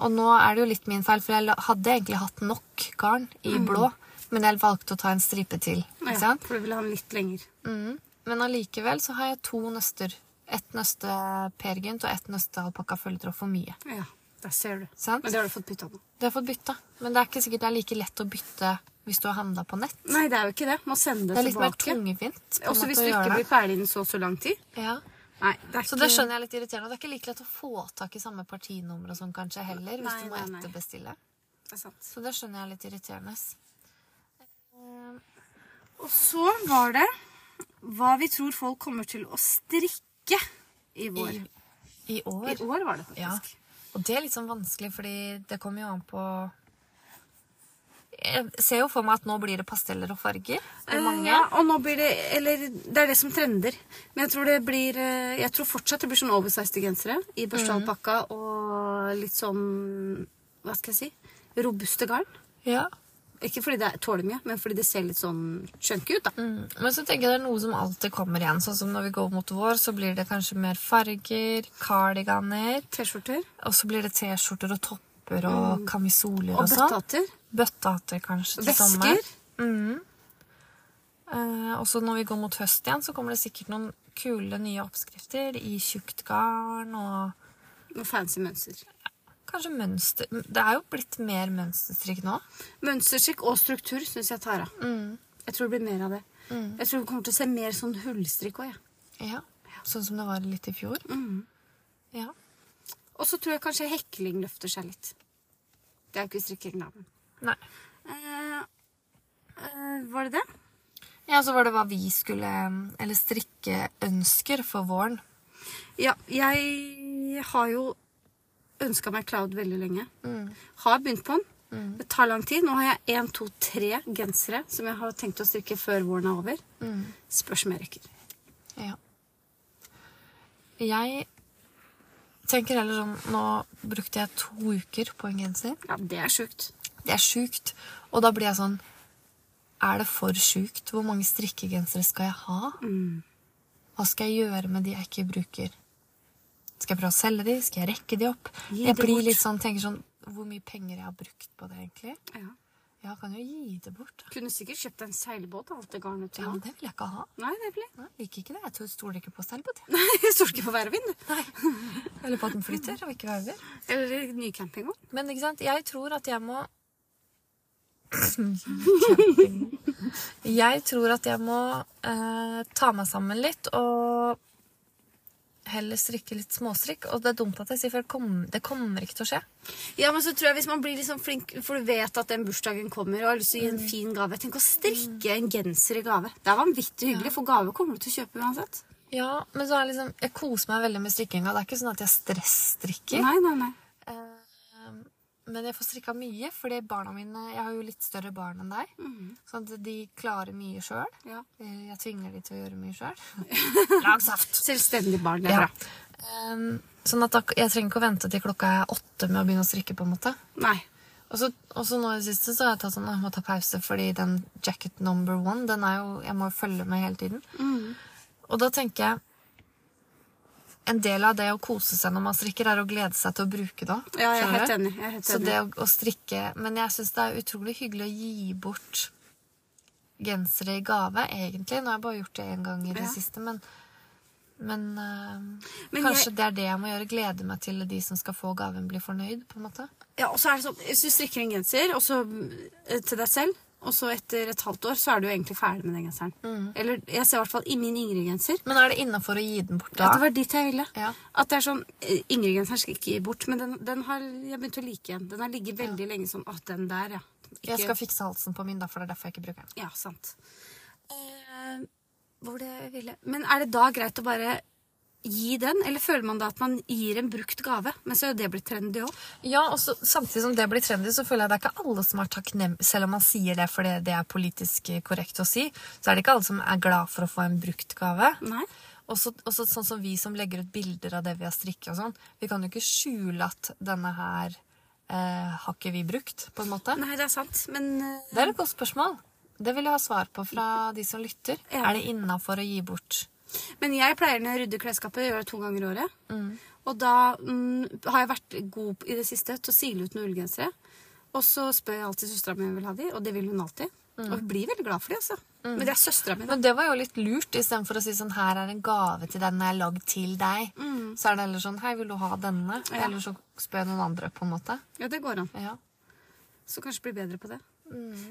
Speaker 1: Og nå er det jo litt min feil, for jeg la- hadde egentlig hatt nok garn i blå, men jeg valgte å ta en stripe til.
Speaker 2: Ja,
Speaker 1: Ikke sant?
Speaker 2: for du vil ha den litt lenger.
Speaker 1: Mm. Men allikevel så har jeg to nøster. Ett nøste Peer Gynt og ett nøste alpakka følgetråd for mye.
Speaker 2: Ja, der ser du.
Speaker 1: Sant?
Speaker 2: Men det har du fått bytta nå.
Speaker 1: Du har fått bytta, men det er ikke sikkert det er like lett å bytte hvis du har handla på nett.
Speaker 2: Nei, det er jo ikke det. Må sende det,
Speaker 1: Det er litt mer
Speaker 2: tilbake.
Speaker 1: tungvint. på en
Speaker 2: Også
Speaker 1: måte,
Speaker 2: hvis
Speaker 1: å
Speaker 2: du ikke
Speaker 1: gjøre
Speaker 2: blir
Speaker 1: det.
Speaker 2: ferdig innen så og så lang tid.
Speaker 1: ja.
Speaker 2: Nei, det er
Speaker 1: Så
Speaker 2: ikke
Speaker 1: det skjønner jeg er litt irriterende. og Det er ikke like lett å få tak i samme partinummer og sånn kanskje heller, hvis
Speaker 2: Nei,
Speaker 1: du må
Speaker 2: nei, nei.
Speaker 1: etterbestille.
Speaker 2: Det er sant.
Speaker 1: Så det skjønner jeg er litt irriterende. ass.
Speaker 2: Og så var det hva vi tror folk kommer til å strikke i vår.
Speaker 1: I, I
Speaker 2: I
Speaker 1: år.
Speaker 2: år var det
Speaker 1: Ja.
Speaker 2: faktisk.
Speaker 1: Og det er litt sånn vanskelig, fordi det kommer jo an på Jeg ser jo for meg at nå blir det pasteller og farger.
Speaker 2: Eh,
Speaker 1: Og mange.
Speaker 2: Ja, og nå blir det Eller det er det som trender. Men jeg tror det blir eh, Jeg tror fortsatt det blir sånn oversized gensere i
Speaker 1: Mhm.
Speaker 2: børstealpakka og litt sånn Hva skal jeg si Robuste garn.
Speaker 1: Ja.
Speaker 2: Ikke fordi det er- tåler mye, men fordi det ser litt sånn chunky ut, da.
Speaker 1: Mm. Men så tenker jeg det er noe som alltid kommer igjen. Sånn som når vi går mot vår, så blir det kanskje mer farger, kardiganer.
Speaker 2: T-skjorter
Speaker 1: Og så blir det T-skjorter og topper og kamisoler og,
Speaker 2: og
Speaker 1: sånn.
Speaker 2: bøttehatter.
Speaker 1: Bøttehatter kanskje til sommer.
Speaker 2: Vesker.
Speaker 1: Eh, og så når vi går mot høst igjen, så kommer det sikkert noen kule nye oppskrifter i tjukt garn og
Speaker 2: Noe fancy mønster.
Speaker 1: kanskje mønster. Det er jo blitt mer mønsterstrikk nå.
Speaker 2: Mønsterskikk og struktur syns jeg tar av. Jeg tror det blir mer av det.
Speaker 1: Mm.
Speaker 2: Jeg tror vi kommer til å se mer sånn hullstrikk òg, jeg.
Speaker 1: Ja. Sånn som det var litt i fjor. Ja.
Speaker 2: Og så tror jeg kanskje hekling løfter seg litt. Det er jo ikke strikking, da. men-
Speaker 1: Nei.
Speaker 2: Eh, eh, var det det?
Speaker 1: Ja, så var det hva vi skulle eh, Eller strikkeønsker for våren.
Speaker 2: Ja, jeg har jo ønska meg cloud veldig lenge. Har begynt på den. Det tar lang tid. Nå har jeg én, to, tre gensere som jeg har tenkt å strikke før våren er over. Spørs om jeg rekker.
Speaker 1: Ja. Jeg tenker heller sånn Nå brukte jeg to uker på en genser.
Speaker 2: Ja, det er sjukt.
Speaker 1: Det er sjukt. Og da blir jeg sånn Er det for sjukt? Hvor mange strikkegensere skal jeg ha? Hva skal jeg gjøre med de jeg ikke bruker? Skal jeg prøve å selge de? Skal jeg rekke de opp?
Speaker 2: Gi
Speaker 1: jeg
Speaker 2: de
Speaker 1: blir
Speaker 2: bort.
Speaker 1: litt sånn, tenker sånn Hvor mye penger jeg har brukt på det, egentlig?
Speaker 2: Ja.
Speaker 1: Ja, kan jo gi det bort. da.
Speaker 2: Kunne sikkert kjøpt en seilbåt av alt det garnet til
Speaker 1: Ja,
Speaker 2: han.
Speaker 1: men det vil jeg ikke ha.
Speaker 2: Nei, det [laughs] blir
Speaker 1: Nei, jeg liker ikke det. Jeg tror- stoler ikke på selv på det.
Speaker 2: Nei, jeg stoler ikke på vær og vind. du.
Speaker 1: Eller på at den flytter og ikke verver.
Speaker 2: Eller ny campingvogn.
Speaker 1: Men ikke sant, jeg tror at jeg må Jeg tror at jeg må eh, ta meg sammen litt og heller strikke litt småstrikk. Og det er dumt at jeg sier, for det, kom, det kommer ikke til å skje.
Speaker 2: Ja, men så tror jeg hvis man blir liksom flink, for du vet at den bursdagen kommer, og har lyst til å gi en fin gave Tenk å strikke en genser i gave. Det er vanvittig hyggelig, for gave kommer du til å kjøpe uansett.
Speaker 1: Ja, men så er det liksom, jeg koser meg veldig med strikkinga. Det er ikke sånn at jeg stressstrikker.
Speaker 2: Nei, nei, nei.
Speaker 1: Eh, men jeg får strikka mye, fordi barna mine Jeg har jo litt større barn enn deg. Sånn at de klarer mye sjøl.
Speaker 2: Ja.
Speaker 1: Jeg tvinger de til å gjøre mye sjøl. Lag saft!
Speaker 2: Selvstendig barn, det er
Speaker 1: Ja.
Speaker 2: bra.
Speaker 1: Um, sånn at da, jeg trenger ikke å vente til klokka er åtte med å begynne å strikke. på en måte.
Speaker 2: Nei.
Speaker 1: Og så og så nå i det siste så har jeg tatt sånn, «Åh, jeg må ta pause, fordi den jacket number one den er jo, jeg må jo følge med hele tiden.
Speaker 2: Mm.
Speaker 1: Og da tenker jeg En del av det å kose seg når man strikker, er å glede seg til å bruke det. også.
Speaker 2: Ja, jeg er
Speaker 1: Skjønner
Speaker 2: helt
Speaker 1: du?
Speaker 2: enig. Jeg er helt
Speaker 1: Så det
Speaker 2: enig.
Speaker 1: å, å strikke Men jeg syns det er utrolig hyggelig å gi bort gensere i gave, egentlig. Nå har jeg bare gjort det én gang i det
Speaker 2: Ja.
Speaker 1: siste, men men, eh,
Speaker 2: Men
Speaker 1: kanskje
Speaker 2: jeg-
Speaker 1: det er det jeg må gjøre. Glede meg til de som skal få gaven, blir fornøyd. på en måte.
Speaker 2: Ja, og så er det sånn, Hvis du strikker en genser og så, eh, til deg selv, og så etter et halvt år, så er du jo egentlig ferdig med den genseren.
Speaker 1: Mm.
Speaker 2: Eller jeg ser i hvert fall i min Ingrid-genser
Speaker 1: Men er det innafor å gi den bort
Speaker 2: at
Speaker 1: da?
Speaker 2: det var dit jeg ville.
Speaker 1: Ja.
Speaker 2: At det er sånn, eh, Ingrid-genseren skal ikke gi bort, men den, den har jeg begynt å like igjen. Den har ligget veldig lenge sånn Å, den der, ja. Ikke-
Speaker 1: Jeg skal fikse halsen på min, da, for det er derfor jeg ikke bruker den.
Speaker 2: Ja, sant. Eh, hvor det jeg ville Men er det da greit å bare gi den, eller føler man da at man gir en brukt gave? Men så er jo det blitt trendy òg.
Speaker 1: Ja, og så, Samtidig som det blir trendy, så føler jeg det er ikke alle som er takknem... Selv om man sier det fordi det er politisk eh, korrekt å si, så er det ikke alle som er glad for å få en brukt gave.
Speaker 2: Nei.
Speaker 1: Og så og så sånn som vi som legger ut bilder av det vi har strikket og sånn. Vi kan jo ikke skjule at denne her eh, har ikke vi brukt, på en måte.
Speaker 2: Nei, det er sant, men eh,
Speaker 1: Det er et godt spørsmål. Det vil jeg ha svar på fra de som lytter.
Speaker 2: Ja.
Speaker 1: Er det innafor å gi bort?
Speaker 2: Men jeg pleier når jeg rydder klesskapet, gjør det to ganger i året. Og da mm, har jeg vært god i det siste til å sile ut noen ullgensere. Og så spør jeg alltid søstera mi om hun vil ha de, og det vil hun alltid. Og hun blir veldig glad for de, altså. Men det er søstera mi, da.
Speaker 1: Men det var jo litt lurt, istedenfor å si sånn her er en gave til den jeg har lagd til deg. Så er det heller sånn hei, vil du ha denne?
Speaker 2: Mm. Ja.
Speaker 1: Eller så spør jeg noen andre, på en måte.
Speaker 2: Ja, det går an.
Speaker 1: Ja.
Speaker 2: Så kanskje bli bedre på det.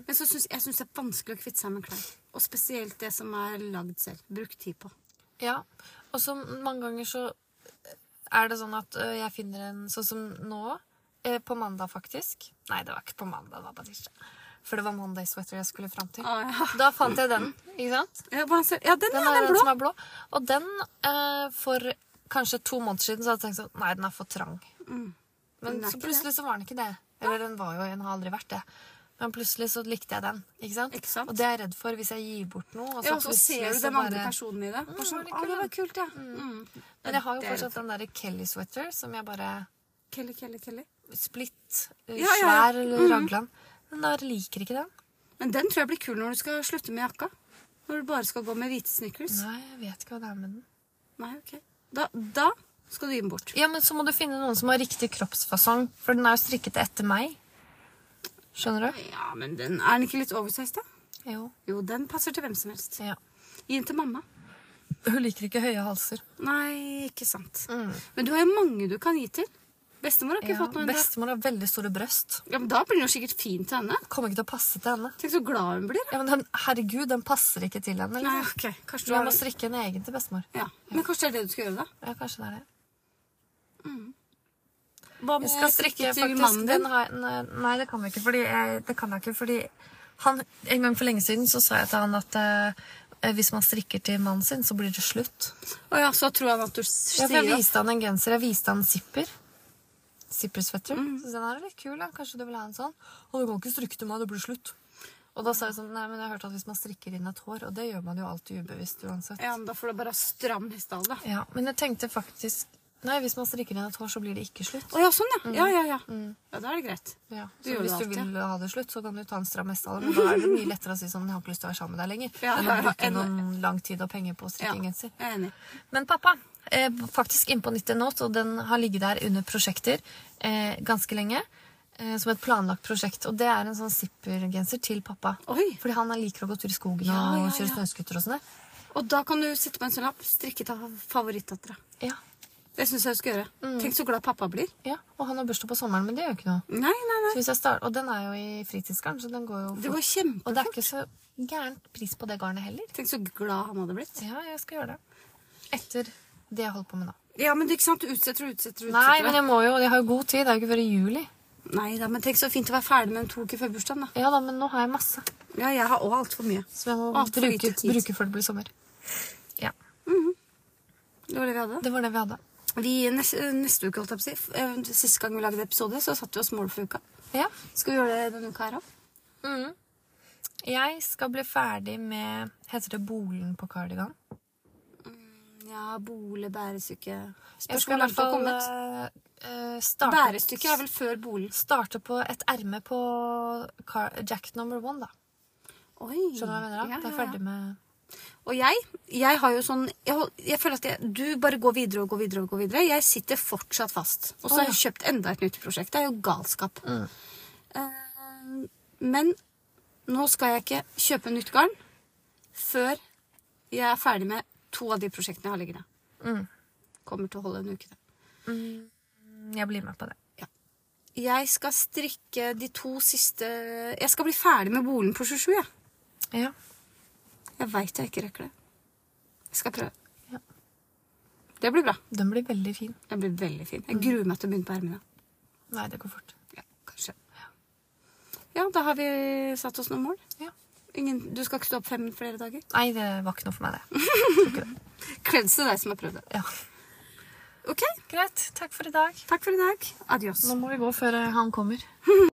Speaker 2: Men så syns jeg syns det er vanskelig å kvitte seg med klær. Og spesielt det som er lagd selv. Brukt tid på.
Speaker 1: Ja, og så mange ganger så er det sånn at ø, jeg finner en sånn som nå, ø, på mandag faktisk. Nei, det var ikke på mandag, det var på tirsdag. For det var Monday sweater jeg skulle fram til.
Speaker 2: Å, ja.
Speaker 1: Da fant jeg den, ikke sant?
Speaker 2: Ja, hva ser- ja, den, sånn
Speaker 1: Den
Speaker 2: ja,
Speaker 1: er
Speaker 2: den
Speaker 1: den
Speaker 2: blå.
Speaker 1: som er blå. Og den, ø, for kanskje to måneder siden, så hadde jeg tenkt sånn, nei, den er for trang. Men
Speaker 2: Mm. Den er
Speaker 1: så
Speaker 2: ikke
Speaker 1: plutselig så var den ikke det. Eller den var jo, den har aldri vært det. Men plutselig så likte jeg den, ikke sant?
Speaker 2: Ikke sant?
Speaker 1: Og det er jeg redd for hvis jeg gir bort noe. Og så,
Speaker 2: Ja, og så
Speaker 1: plutselig
Speaker 2: ser du
Speaker 1: så
Speaker 2: den andre
Speaker 1: bare-
Speaker 2: personen i det. Bare sånn,
Speaker 1: var
Speaker 2: å, det
Speaker 1: det kul,
Speaker 2: var kult, ja. Mm.
Speaker 1: Men jeg har jo
Speaker 2: Det er
Speaker 1: fortsatt den der Kelly sweater som jeg bare
Speaker 2: Kelly, Kelly, Kelly.
Speaker 1: Splitt, eh,
Speaker 2: Ja, ja, ja. Mm.
Speaker 1: svær eller raglan. Men da liker ikke den.
Speaker 2: Men den tror jeg blir kul når du skal slutte med jakka. Når du bare skal gå med hvite snickers.
Speaker 1: Nei, jeg vet ikke hva det er med den.
Speaker 2: Nei, ok. Da, da skal du gi den bort.
Speaker 1: Ja, men så må du finne noen som har riktig kroppsfasong, for den er jo strikket etter meg. Skjønner du?
Speaker 2: Ja, men den, er den ikke litt oversized, da?
Speaker 1: Jo.
Speaker 2: Jo, den passer til hvem som helst.
Speaker 1: Ja.
Speaker 2: Gi den til mamma.
Speaker 1: Hun liker ikke høye halser.
Speaker 2: Nei, ikke sant. Men du har jo mange du kan gi til. Bestemor har ikke
Speaker 1: Mm. Ja,
Speaker 2: fått noe ennå.
Speaker 1: bestemor har veldig store brøst.
Speaker 2: Ja, men da blir det jo sikkert fint til henne.
Speaker 1: Kommer ikke til å passe til henne.
Speaker 2: Tenk så glad hun blir. da.
Speaker 1: Ja, men den, herregud, den passer ikke til henne.
Speaker 2: Nei,
Speaker 1: Liksom.
Speaker 2: ok. Kanskje
Speaker 1: Så
Speaker 2: du
Speaker 1: jeg
Speaker 2: har...
Speaker 1: må strikke en egen til bestemor.
Speaker 2: Ja. Men kanskje det er det du skal gjøre, da?
Speaker 1: Ja, kanskje det er det.
Speaker 2: Hva
Speaker 1: Jeg skal strikke
Speaker 2: til
Speaker 1: faktisk
Speaker 2: mannen
Speaker 1: den
Speaker 2: din?
Speaker 1: har, jeg- nei, nei, det kan jeg ikke, fordi jeg, det kan jeg ikke, fordi han, en gang for lenge siden så sa jeg til han at eh, hvis man strikker til mannen sin, så blir det slutt.
Speaker 2: Å ja, så tror han at du sier
Speaker 1: Ja, for jeg
Speaker 2: at
Speaker 1: viste han en genser, jeg viste han zipper. Zipper sweater.
Speaker 2: Mm.
Speaker 1: Så den er litt kul, da. kanskje du vil ha en sånn? Og du kan ikke strikke til meg, det blir slutt. Og da sa jeg sånn, nei, men jeg hørte at hvis man strikker inn et hår, og det gjør man jo alltid ubevisst uansett.
Speaker 2: Ja, men da får du bare ha stram hestehale, da.
Speaker 1: Ja, men jeg tenkte faktisk, nei, hvis man strikker inn et hår, så blir det ikke slutt.
Speaker 2: Å ja, sånn,
Speaker 1: Mm.
Speaker 2: ja. Ja, ja, ja. Ja, da er det greit.
Speaker 1: Ja,
Speaker 2: Du
Speaker 1: så
Speaker 2: gjør
Speaker 1: hvis
Speaker 2: det
Speaker 1: du
Speaker 2: alltid.
Speaker 1: vil ha det slutt, så kan du ta en stram hestehale. Men da er det mye lettere å si sånn, jeg har ikke lyst til å være sammen med deg lenger.
Speaker 2: Ja,
Speaker 1: enn
Speaker 2: ja,
Speaker 1: å
Speaker 2: ja,
Speaker 1: bruke
Speaker 2: enn-
Speaker 1: noen lang tid og penger på å
Speaker 2: Ja,
Speaker 1: strikke en
Speaker 2: jeg
Speaker 1: genser.
Speaker 2: er enig.
Speaker 1: Men pappa, eh, faktisk innpå 90 Not, og den har ligget der under prosjekter eh, ganske lenge. Eh, som et planlagt prosjekt. Og det er en sånn zippergenser til pappa.
Speaker 2: Oi.
Speaker 1: Fordi han liker å gå tur i skogen
Speaker 2: Ja, ja,
Speaker 1: og kjøre
Speaker 2: ja.
Speaker 1: snøskuter og sånn. der.
Speaker 2: Og da kan du sette på en sånn lapp 'Strikket av favorittdattera'.
Speaker 1: Ja,
Speaker 2: Det syns jeg du skal gjøre.
Speaker 1: Mm.
Speaker 2: Tenk så glad pappa blir.
Speaker 1: ja. Og han har bursdag på sommeren, men det gjør jo ikke noe.
Speaker 2: Nei, nei, nei.
Speaker 1: Så hvis jeg start, og den er jo i fritidsgarn, så den går jo
Speaker 2: Det
Speaker 1: fort.
Speaker 2: var kjempe...
Speaker 1: Og det er ikke så gærent pris på det garnet heller.
Speaker 2: Tenk så glad han hadde blitt.
Speaker 1: Ja, jeg skal gjøre det. Etter det jeg holdt på med nå.
Speaker 2: Ja, men det er ikke sant, du utsetter og utsetter og utsetter.
Speaker 1: Nei, men jeg må jo, jeg har jo god tid. Det er jo ikke før i juli.
Speaker 2: Nei da, men tenk så fint å være ferdig med en to uker før bursdagen, da.
Speaker 1: Ja da, men nå har jeg masse.
Speaker 2: Ja, jeg har òg altfor mye.
Speaker 1: Som jeg må
Speaker 2: Alt for
Speaker 1: bruke,
Speaker 2: lite tid.
Speaker 1: bruke før det blir sommer. Ja,
Speaker 2: Det var det vi hadde.
Speaker 1: Det var det vi hadde.
Speaker 2: Vi, neste, neste uke, holdt jeg på å si. f- eh, Siste gang vi lagde episode, så satte vi oss mål for uka.
Speaker 1: Ja.
Speaker 2: Skal vi gjøre det denne uka her òg?
Speaker 1: Mhm. Jeg skal bli ferdig med Heter det bolen på kardigan?
Speaker 2: Ja, bole, bærestykke
Speaker 1: Jeg skal i
Speaker 2: Spørsmålet
Speaker 1: hvert
Speaker 2: er
Speaker 1: fall
Speaker 2: kommet.
Speaker 1: eh, eh, starte,
Speaker 2: Bærestykket er vel før bolen.
Speaker 1: starte på et erme på car Jack number one, da.
Speaker 2: Oi.
Speaker 1: Skjønner du hva jeg mener? da?
Speaker 2: Ja,
Speaker 1: Det er
Speaker 2: ja, ja.
Speaker 1: ferdig med
Speaker 2: Og jeg, jeg har jo sånn jeg, hol- jeg føler at jeg, du bare går videre og går videre og går videre. Jeg sitter fortsatt fast. Og så
Speaker 1: Å,
Speaker 2: har jeg kjøpt enda et nytt prosjekt. Det er jo galskap. Eh, men nå skal jeg ikke kjøpe nytt garn før jeg er ferdig med to av de prosjektene jeg har liggende.
Speaker 1: Mm.
Speaker 2: Kommer til å holde en uke. det.
Speaker 1: Jeg blir med på det.
Speaker 2: Jeg skal strikke de to siste Jeg skal bli ferdig med bolen på 27, jeg.
Speaker 1: Ja.
Speaker 2: Jeg veit jeg ikke rekker det. Jeg skal prøve.
Speaker 1: Ja.
Speaker 2: Det blir bra.
Speaker 1: Den blir veldig fin.
Speaker 2: Den blir veldig fin. Jeg gruer meg til å begynne på ermene.
Speaker 1: Nei, det går fort.
Speaker 2: Ja, kanskje. Ja, da har vi satt oss noen mål.
Speaker 1: Ja.
Speaker 2: Ingen, du skal ikke stå opp fem flere dager?
Speaker 1: Nei, det var ikke noe for meg, [laughs] det.
Speaker 2: Kleds til deg som har prøvd det.
Speaker 1: Ja.
Speaker 2: Ok,
Speaker 1: Greit. Takk for i dag.
Speaker 2: takk for i dag. Adios.
Speaker 1: Nå må vi gå før eh, han kommer.